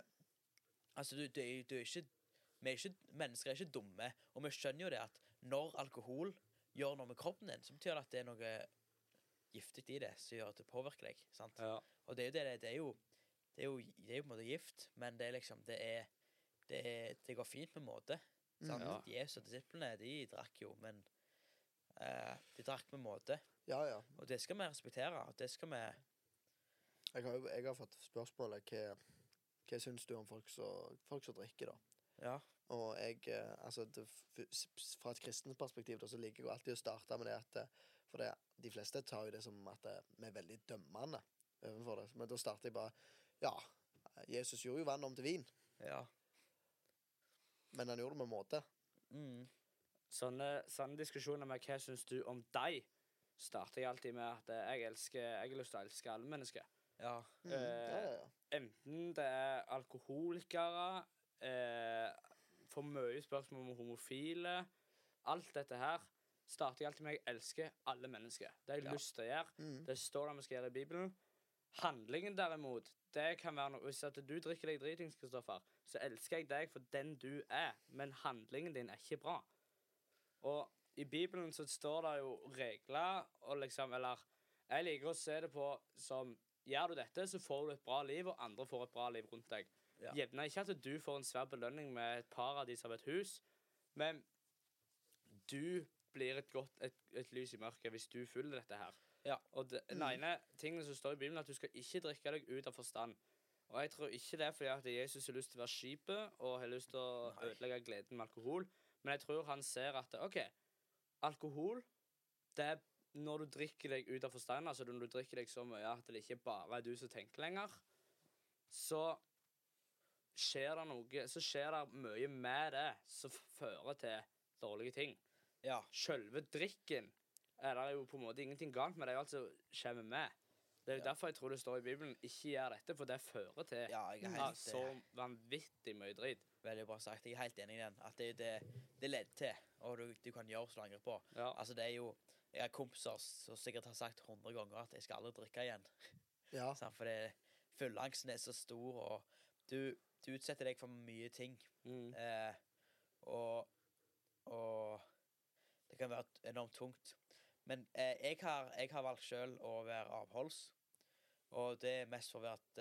Speaker 4: altså, du, du, er- du er ikke, vi er ikke Mennesker er ikke dumme, og vi skjønner jo det at når alkohol gjør noe med kroppen din, så betyr det at det er noe giftig i det som gjør at det påvirker deg. sant?
Speaker 2: Ja.
Speaker 4: Og det er jo det det er. Det er jo, det er jo, det er jo på en måte gift, men det er liksom Det, er, det, er, det går fint på en måte. Sant?
Speaker 2: Mm, Ja.
Speaker 4: Jesus og disiplene, de drakk jo, men eh, de drakk med måte.
Speaker 1: Ja, ja.
Speaker 4: Og det skal vi respektere. og det skal vi...
Speaker 1: Jeg har, jo- jeg har fått spørsmålet hva, hva syns du om folk som folk som drikker, da?
Speaker 4: Ja.
Speaker 1: Og jeg, eh, altså det, f- s- fra et kristent perspektiv da, så liker jeg jo alltid å starte med det at eh, For det, de fleste tar jo det som at eh, vi er veldig dømmende overfor det. Men da starter jeg bare Ja, Jesus gjorde jo vann om til vin,
Speaker 4: ja.
Speaker 1: men han gjorde det med måte.
Speaker 4: Mm.
Speaker 2: Sånne, sånne diskusjoner med 'hva syns du om deg', starter jeg alltid med at eh, jeg elsker Jeg har lyst til å elske alle mennesker.
Speaker 4: ja.
Speaker 1: Mm, ja, ja,
Speaker 4: Eh.
Speaker 1: ja.
Speaker 2: Enten det er alkoholikere, eh, for mye spørsmål om homofile Alt dette her starter jeg alltid med 'jeg elsker alle mennesker'. Det har jeg
Speaker 4: Ja.
Speaker 2: lyst til å gjøre.
Speaker 1: Mm.
Speaker 2: Det står det vi skal gjøre i Bibelen. Handlingen derimot, det kan være noe Hvis at du drikker deg dritings, Kristoffer, så elsker jeg deg for den du er, men handlingen din er ikke bra. Og i Bibelen så står det jo regler og liksom Eller jeg liker å se det på som Gjør du dette, så får du et bra liv, og andre får et bra liv rundt deg.
Speaker 4: Ja.
Speaker 2: Gjerne ikke at du får en svær belønning med et paradis av et hus, men du blir et godt et, et lys i mørket hvis du følger dette her.
Speaker 4: Ja.
Speaker 2: Og det, den ene tingen som står i Bibelen, er at du skal ikke drikke deg ut av forstand. Og jeg tror ikke det er fordi at Jesus har lyst til å være skipet og har lyst til å
Speaker 4: Nei.
Speaker 2: ødelegge gleden med alkohol, men jeg tror han ser at OK, alkohol det er når du drikker deg ut av forstand, altså når du drikker deg så mye at det ikke bare er du som tenker lenger, så skjer det noe Så skjer det mye med det som f- fører til dårlige ting.
Speaker 4: ja.
Speaker 2: Selve drikken er det jo på en måte ingenting galt med. Det er jo alt som kommer med. Det er jo
Speaker 4: Ja.
Speaker 2: derfor jeg tror det står i Bibelen 'ikke gjør dette', for det fører til
Speaker 4: Ja, jeg er
Speaker 2: ja,
Speaker 4: helt,
Speaker 2: så vanvittig mye drit.
Speaker 4: veldig bra sagt. Jeg er helt enig i den. At det er det, det leder til, og du, du kan gjøre så lenge på.
Speaker 2: Ja.
Speaker 4: Altså, det er jo Jeg har kompiser som sikkert har sagt 100 ganger at jeg skal aldri drikke igjen.
Speaker 1: ja.
Speaker 4: Sant? For det, fullangsten er så stor, og du, du utsetter deg for mye ting.
Speaker 2: Mm.
Speaker 4: Eh, og, og det kan være t- enormt tungt. Men eh, jeg, har, jeg har valgt sjøl å være avholds. Og det er mest for å være at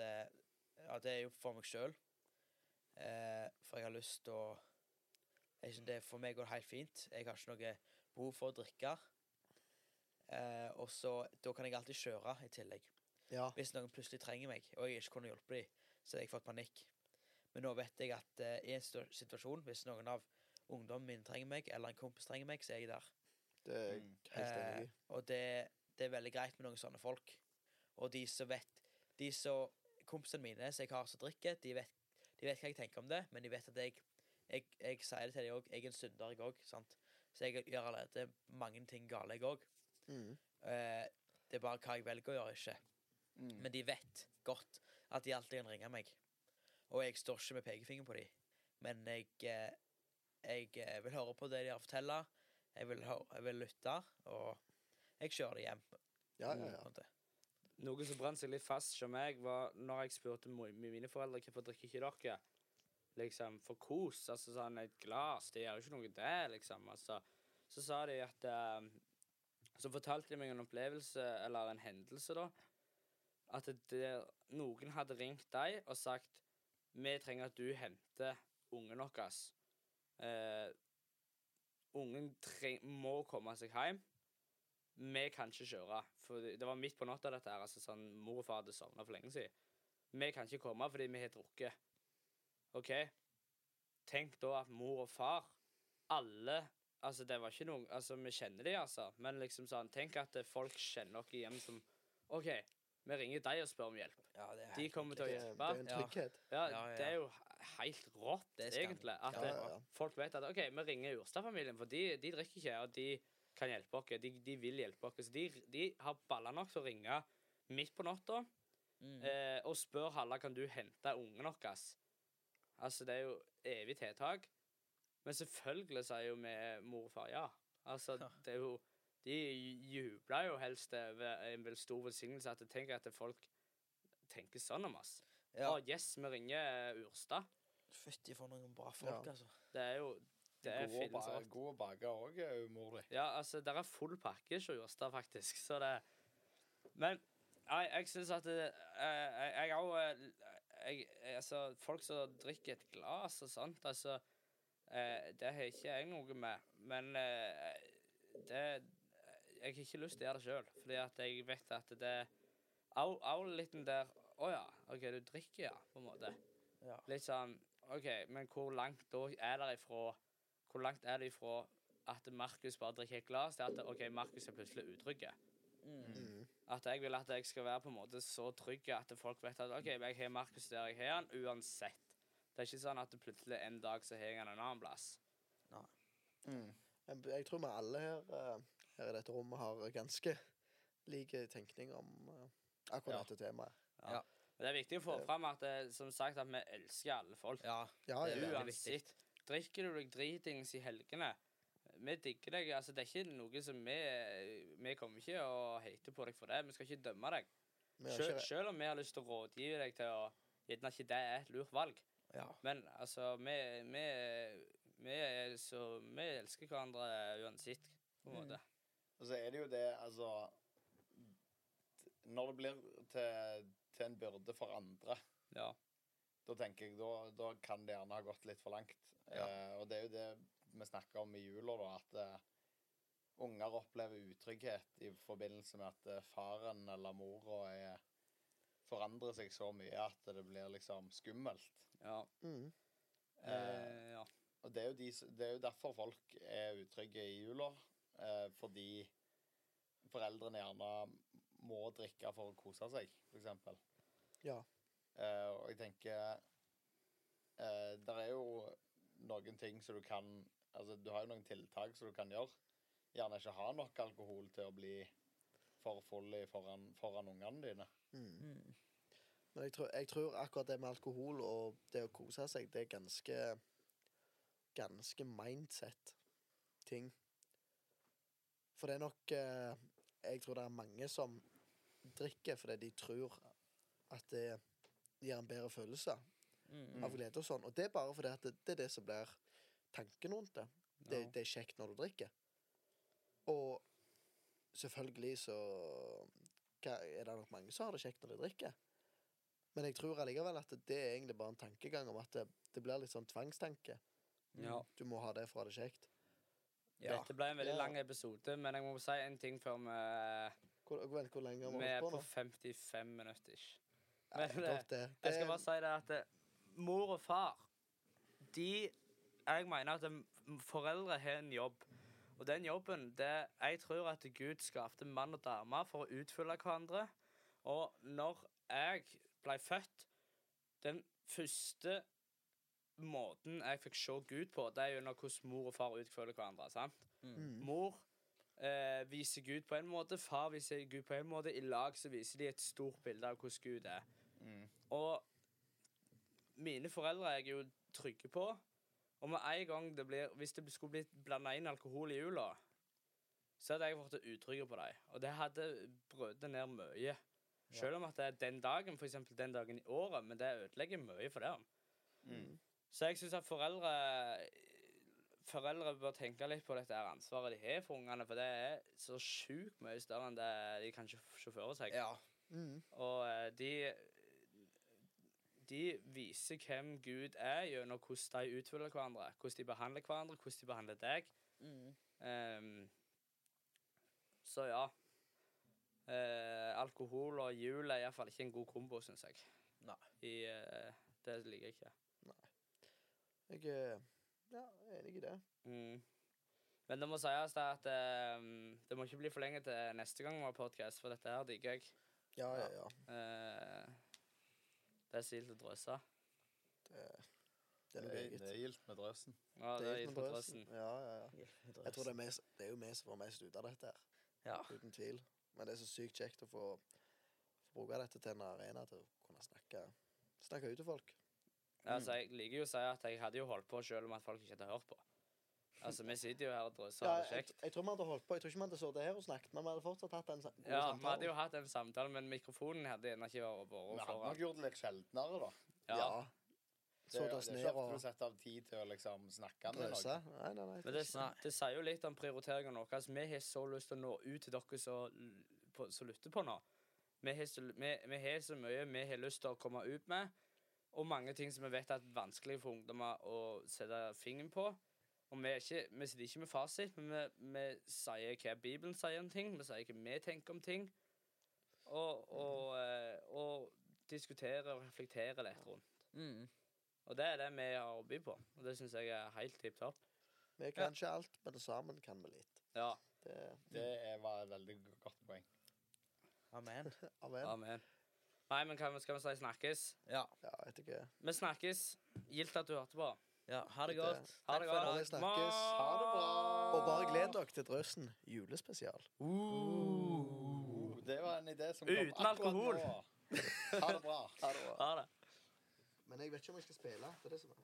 Speaker 4: eh, Ja, det er jo for meg sjøl. Eh, for jeg har lyst til å jeg synes det, For meg går det helt fint. Jeg har ikke noe behov for å drikke. Eh, og så Da kan jeg alltid kjøre i tillegg.
Speaker 1: ja.
Speaker 4: Hvis noen plutselig trenger meg, og jeg ikke kunne hjulpet dem, så hadde jeg fått panikk. Men nå vet jeg at eh, i en sto- situasjon, hvis noen av ungdommen min trenger meg, eller en kompis trenger meg, så er jeg der.
Speaker 1: Det er jeg
Speaker 3: Mm.
Speaker 1: helt enig i.
Speaker 4: Eh, og det, det er veldig greit med noen sånne folk. Og de som vet De som Kompisene mine som jeg har som drikker, de vet, de vet hva jeg tenker om det, men de vet at jeg Jeg, jeg sier det til dem òg. Jeg er en synder, jeg òg. Så jeg gjør allerede mange ting gale, jeg òg.
Speaker 1: Mm.
Speaker 4: Eh, det er bare hva jeg velger å gjøre, ikke.
Speaker 3: Mm.
Speaker 4: Men de vet godt at de alltid kan ringe meg. Og jeg står ikke med pekefingeren på dem. Men jeg, eh, jeg eh, vil høre på det de har å fortelle. Jeg vil, hø- jeg vil lytte, og jeg kjører det hjem.
Speaker 1: Ja, ja,
Speaker 4: på en
Speaker 1: ja.
Speaker 4: måte.
Speaker 2: Noe som brant seg litt fast hos meg, var når jeg spurte mo- mine foreldre hvorfor drikker ikke dere Liksom for kos. Altså sånn et glass, det gjør jo ikke noe det, liksom. Altså, så sa de at eh, Så fortalte de meg en opplevelse, eller en hendelse, da. At det- det, noen hadde ringt deg og sagt Vi trenger at du henter ungen vår. Eh, ungen treng, må komme seg hjem vi kan ikke kjøre. For det det var midt på natta, dette her. altså sånn, Mor og far hadde sovna for lenge siden. Vi kan ikke komme fordi vi har drukket. OK? Tenk da at mor og far, alle Altså, det var ikke noe Altså, vi kjenner de, altså. Men liksom sånn, tenk at eh, folk kjenner oss igjen som OK, vi ringer deg og spør om hjelp.
Speaker 4: Ja, det er
Speaker 2: De
Speaker 4: helt
Speaker 2: kommer til å
Speaker 1: Det,
Speaker 4: riktig.
Speaker 1: er- det
Speaker 2: hjelpe.
Speaker 1: er en
Speaker 4: Ja.
Speaker 1: trygghet.
Speaker 2: Ja,
Speaker 4: Ja, ja,
Speaker 2: Det er
Speaker 4: ja.
Speaker 2: jo he- helt rått,
Speaker 4: Det er skam.
Speaker 2: egentlig. At
Speaker 4: Ja,
Speaker 2: eh,
Speaker 1: ja, ja.
Speaker 2: folk vet at OK, vi ringer Urstad-familien, for de, de drikker ikke, og de kan hjelpe oss. De, de vil hjelpe oss. Så de, de har baller nok til å ringe midt på natta
Speaker 4: Mm.
Speaker 2: eh, og spør Halla kan du hente ungen vår. Altså, det er jo evig tiltak. Men selvfølgelig sier jo vi mor og far ja. Altså,
Speaker 4: Ja.
Speaker 2: det er jo De jubler jo helst over en vel stor velsignelse at jeg tenker at folk tenker sånn om oss. Ja.
Speaker 4: Ja.
Speaker 2: yes, vi ringer Urstad.
Speaker 4: Fytti for noen bra folk,
Speaker 1: Ja.
Speaker 4: altså.
Speaker 2: Det er jo Det er
Speaker 3: Gode
Speaker 2: finnes
Speaker 3: ba-
Speaker 2: rått.
Speaker 3: Gode baker òg er umoderlig.
Speaker 2: Ja, altså, der er full pakke hos Jørstad, faktisk. Så det Men nei, jeg syns at det, eh, Jeg jeg har jo eh, jeg, jeg- Altså, folk som drikker et glass og sånt, altså eh, Det har ikke jeg noe med. Men eh, det Jeg har ikke lyst til å gjøre det sjøl, fordi at jeg vet at det Au, au litt den der Å ja, OK, du drikker, ja, på en måte.
Speaker 4: Ja.
Speaker 2: Litt sånn OK, men hvor langt da er det ifra Hvor langt er det ifra at Markus bare drikker et glass, til at OK, Markus er plutselig utrygg?
Speaker 4: Mm.
Speaker 1: Mm.
Speaker 2: At jeg vil at jeg skal være på en måte så trygg at folk vet at OK, jeg har Markus der jeg har han, uansett. Det er ikke sånn at plutselig en dag så har jeg han en annen plass.
Speaker 3: Mm.
Speaker 1: Jeg, jeg tror vi alle her, eh, her i dette rommet har ganske lik tenkning om eh, akkurat
Speaker 3: Ja.
Speaker 1: dette temaet.
Speaker 2: Men det er viktig å få fram at eh, som sagt at vi elsker alle folk.
Speaker 4: ja.
Speaker 1: Ja,
Speaker 4: Det
Speaker 1: ja,
Speaker 4: er
Speaker 1: ja.
Speaker 4: veldig
Speaker 2: Uansett. Drikker du deg dritings i helgene? Vi digger deg. altså Det er ikke noe som vi eh, Vi kommer ikke å hate på deg for det. Vi skal ikke dømme deg.
Speaker 1: Vi har
Speaker 2: Sjøl,
Speaker 1: ikke-
Speaker 2: selv om vi har lyst til å rådgi deg til å Gjerne ikke det er et lurt valg,
Speaker 4: ja.
Speaker 2: men altså Vi, vi, vi, er så, vi elsker hverandre uansett, på en måte.
Speaker 3: Og så er det jo det, altså Når det blir til, til en byrde for andre,
Speaker 2: Ja.
Speaker 3: da tenker jeg da, da kan det gjerne ha gått litt for langt.
Speaker 4: Ja.
Speaker 3: Eh, og det er jo det vi snakker om i jula, da, at eh, unger opplever utrygghet i forbindelse med at eh, faren eller mora er forandrer seg så mye at det blir liksom skummelt.
Speaker 2: ja.
Speaker 1: Mm.
Speaker 3: Eh,
Speaker 2: Eh, ja.
Speaker 3: Og det er, jo de, s- det er jo derfor folk er utrygge i jula. Eh, fordi foreldrene gjerne må drikke for å kose seg, f.eks.
Speaker 1: Ja.
Speaker 3: Eh, og jeg tenker eh, Der er jo noen ting som du kan Altså, du har jo noen tiltak som du kan gjøre. Gjerne ikke ha nok alkohol til å bli for full i foran, foran ungene dine.
Speaker 1: Mm.
Speaker 4: Mm.
Speaker 1: Men jeg tror, jeg tror akkurat det med alkohol og det å kose seg, det er ganske Ganske mindset-ting. For det er nok eh, Jeg tror det er mange som drikker fordi de tror at det gir en bedre følelse
Speaker 4: Mm.
Speaker 1: av glede og sånn. Og det er bare fordi at det, det er det som blir tanken rundt det. Det,
Speaker 2: Ja.
Speaker 1: det er kjekt når du drikker. Og selvfølgelig så hva, er det nok mange som har det kjekt når de drikker. Men jeg tror allikevel at det er egentlig bare en tankegang om at det, det blir litt sånn tvangstanke.
Speaker 2: ja.
Speaker 1: Du må ha det for å ha det kjekt.
Speaker 4: Ja.
Speaker 2: Dette ble en veldig
Speaker 1: Ja.
Speaker 2: lang episode, men jeg må si en ting før vi
Speaker 1: Hvor, vent, hvor lenge har
Speaker 2: Vi
Speaker 1: vi
Speaker 2: er
Speaker 1: holdt på
Speaker 2: på
Speaker 1: nå?
Speaker 2: 55 minutter. ish.
Speaker 1: Ja,
Speaker 2: men det-
Speaker 1: godt det.
Speaker 2: Jeg skal
Speaker 1: Det-
Speaker 2: bare si det at eh, mor og far De Jeg mener at em, foreldre har en jobb. Og den jobben det, Jeg tror at Gud skapte mann og dame for å utfylle hverandre. Og når jeg ble født Den første måten jeg fikk se Gud på, det er gjennom hvordan mor og far utfyller hverandre. sant?
Speaker 1: mm.
Speaker 2: Mor eh, viser Gud på en måte, far viser Gud på en måte. I lag så viser de et stort bilde av hvordan Gud er.
Speaker 3: Mm.
Speaker 2: Og mine foreldre er jeg jo trygge på. Og med en gang det blir Hvis det skulle blitt blanda inn alkohol i jula, så hadde jeg blitt utrygg på dem. Og det hadde brutt ned mye. Selv om at det er den dagen, for eksempel den dagen i året, men det ødelegger mye for dem.
Speaker 3: Mm.
Speaker 2: Så jeg syns at foreldre Foreldre bør tenke litt på dette her ansvaret de har for ungene, for det er så sjukt mye større enn det de kan sjå sjå for seg.
Speaker 4: Ja.
Speaker 1: Mm.
Speaker 2: Og eh, de De viser hvem Gud er gjennom hvordan de utfyller hverandre. Hvordan de behandler hverandre, hvordan de behandler deg.
Speaker 4: Mm.
Speaker 2: Ehm, så ja. Eh, alkohol og jul er iallfall ikke en god kombo, syns jeg.
Speaker 4: Nei.
Speaker 2: I, eh, det liker jeg ikke.
Speaker 1: Jeg er ja, jeg er enig i det.
Speaker 2: Mm. Men det må sies da at eh, det må ikke bli for lenge til neste gang vi har podkast, for dette her digger jeg.
Speaker 1: Ja, ja, ja.
Speaker 2: Eh, det er silt å drøse.
Speaker 1: Det, det er noe eget.
Speaker 3: Det er gildt med drøsen.
Speaker 2: Ja, det er
Speaker 1: gitt
Speaker 2: gitt
Speaker 1: med
Speaker 2: på
Speaker 1: drøssen.
Speaker 2: drøssen.
Speaker 1: Ja, ja, ja. Jeg tror det er, mest, det er jo vi som får mest ut av dette. her,
Speaker 4: Ja.
Speaker 1: Uten tvil. Men det er så sykt kjekt å få, få bruke dette til en arena til å kunne snakke, snakke ut til folk.
Speaker 2: Altså, jeg liker jo å si at jeg hadde jo holdt på selv om at folk ikke hadde hørt på. Altså, vi sitter jo her og drøser
Speaker 1: Ja,
Speaker 2: av det
Speaker 1: jeg,
Speaker 2: kjekt.
Speaker 1: jeg tror vi hadde holdt på. Jeg tror ikke vi hadde sittet her og snakket, men vi hadde fortsatt hatt en sa- god
Speaker 2: Ja, vi hadde
Speaker 1: samtale.
Speaker 2: jo hatt en samtale, men mikrofonen hadde ennå ikke vært
Speaker 3: Vi
Speaker 2: båret
Speaker 3: hadde nok
Speaker 2: foran.
Speaker 3: gjort det litt sjeldnere, da.
Speaker 2: Ja.
Speaker 1: Så
Speaker 3: det,
Speaker 1: det oss
Speaker 3: det er
Speaker 1: ned
Speaker 3: ikke ofte
Speaker 1: og
Speaker 3: du setter av tid til å liksom snakke med
Speaker 1: drøse.
Speaker 3: noen.
Speaker 1: Nei, nei, nei.
Speaker 2: Men det, det sier jo litt om prioriteringen vår. Altså, vi har så lyst til å nå ut til dere som l- på- som lytter på nå. Vi har så, vi, vi har så mye vi har lyst til å komme ut med, og mange ting som vi vet er vanskelig for ungdommer å sette fingeren på. Og vi, er ikke, vi sitter ikke med fasit, men vi, vi sier hva Bibelen sier om ting, vi sier hva vi tenker om ting, og, og, eh, og diskuterer og reflekterer litt rundt.
Speaker 4: Mm.
Speaker 2: Og det er det vi har å by på, og det syns jeg er helt tipp topp.
Speaker 1: Vi kan ikke alt, men sammen kan vi litt.
Speaker 2: Ja.
Speaker 1: Det
Speaker 3: Det er- var et veldig godt poeng.
Speaker 4: Amen.
Speaker 1: Amen.
Speaker 2: Amen. Nei, men hva skal vi si snakkes?
Speaker 4: Ja.
Speaker 1: Ja, jeg vet ikke.
Speaker 2: Vi snakkes. Gildt at du hørte på.
Speaker 4: ja. Ha det godt.
Speaker 2: Ha det
Speaker 1: eh, Takk for
Speaker 2: godt.
Speaker 1: nå, vi snakkes.
Speaker 3: Ha det bra!
Speaker 1: Og bare gled dere til Drøsen julespesial.
Speaker 3: Uh, Det var en idé som kom
Speaker 2: Uten
Speaker 3: akkurat
Speaker 2: alkohol.
Speaker 3: nå. Ha det bra.
Speaker 1: Ha det bra.
Speaker 2: Ha det.
Speaker 1: Men jeg vet ikke om jeg skal spille. Det er det som er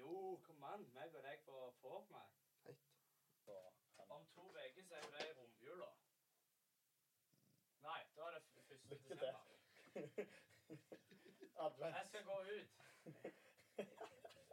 Speaker 2: Jo, kom an. Meg og deg på Fortnite.
Speaker 1: Heit.
Speaker 2: Om to uker så er jo det i romjula. Nei, da er det f- første
Speaker 3: Lykke til.
Speaker 2: desember. Jeg skal gå ut.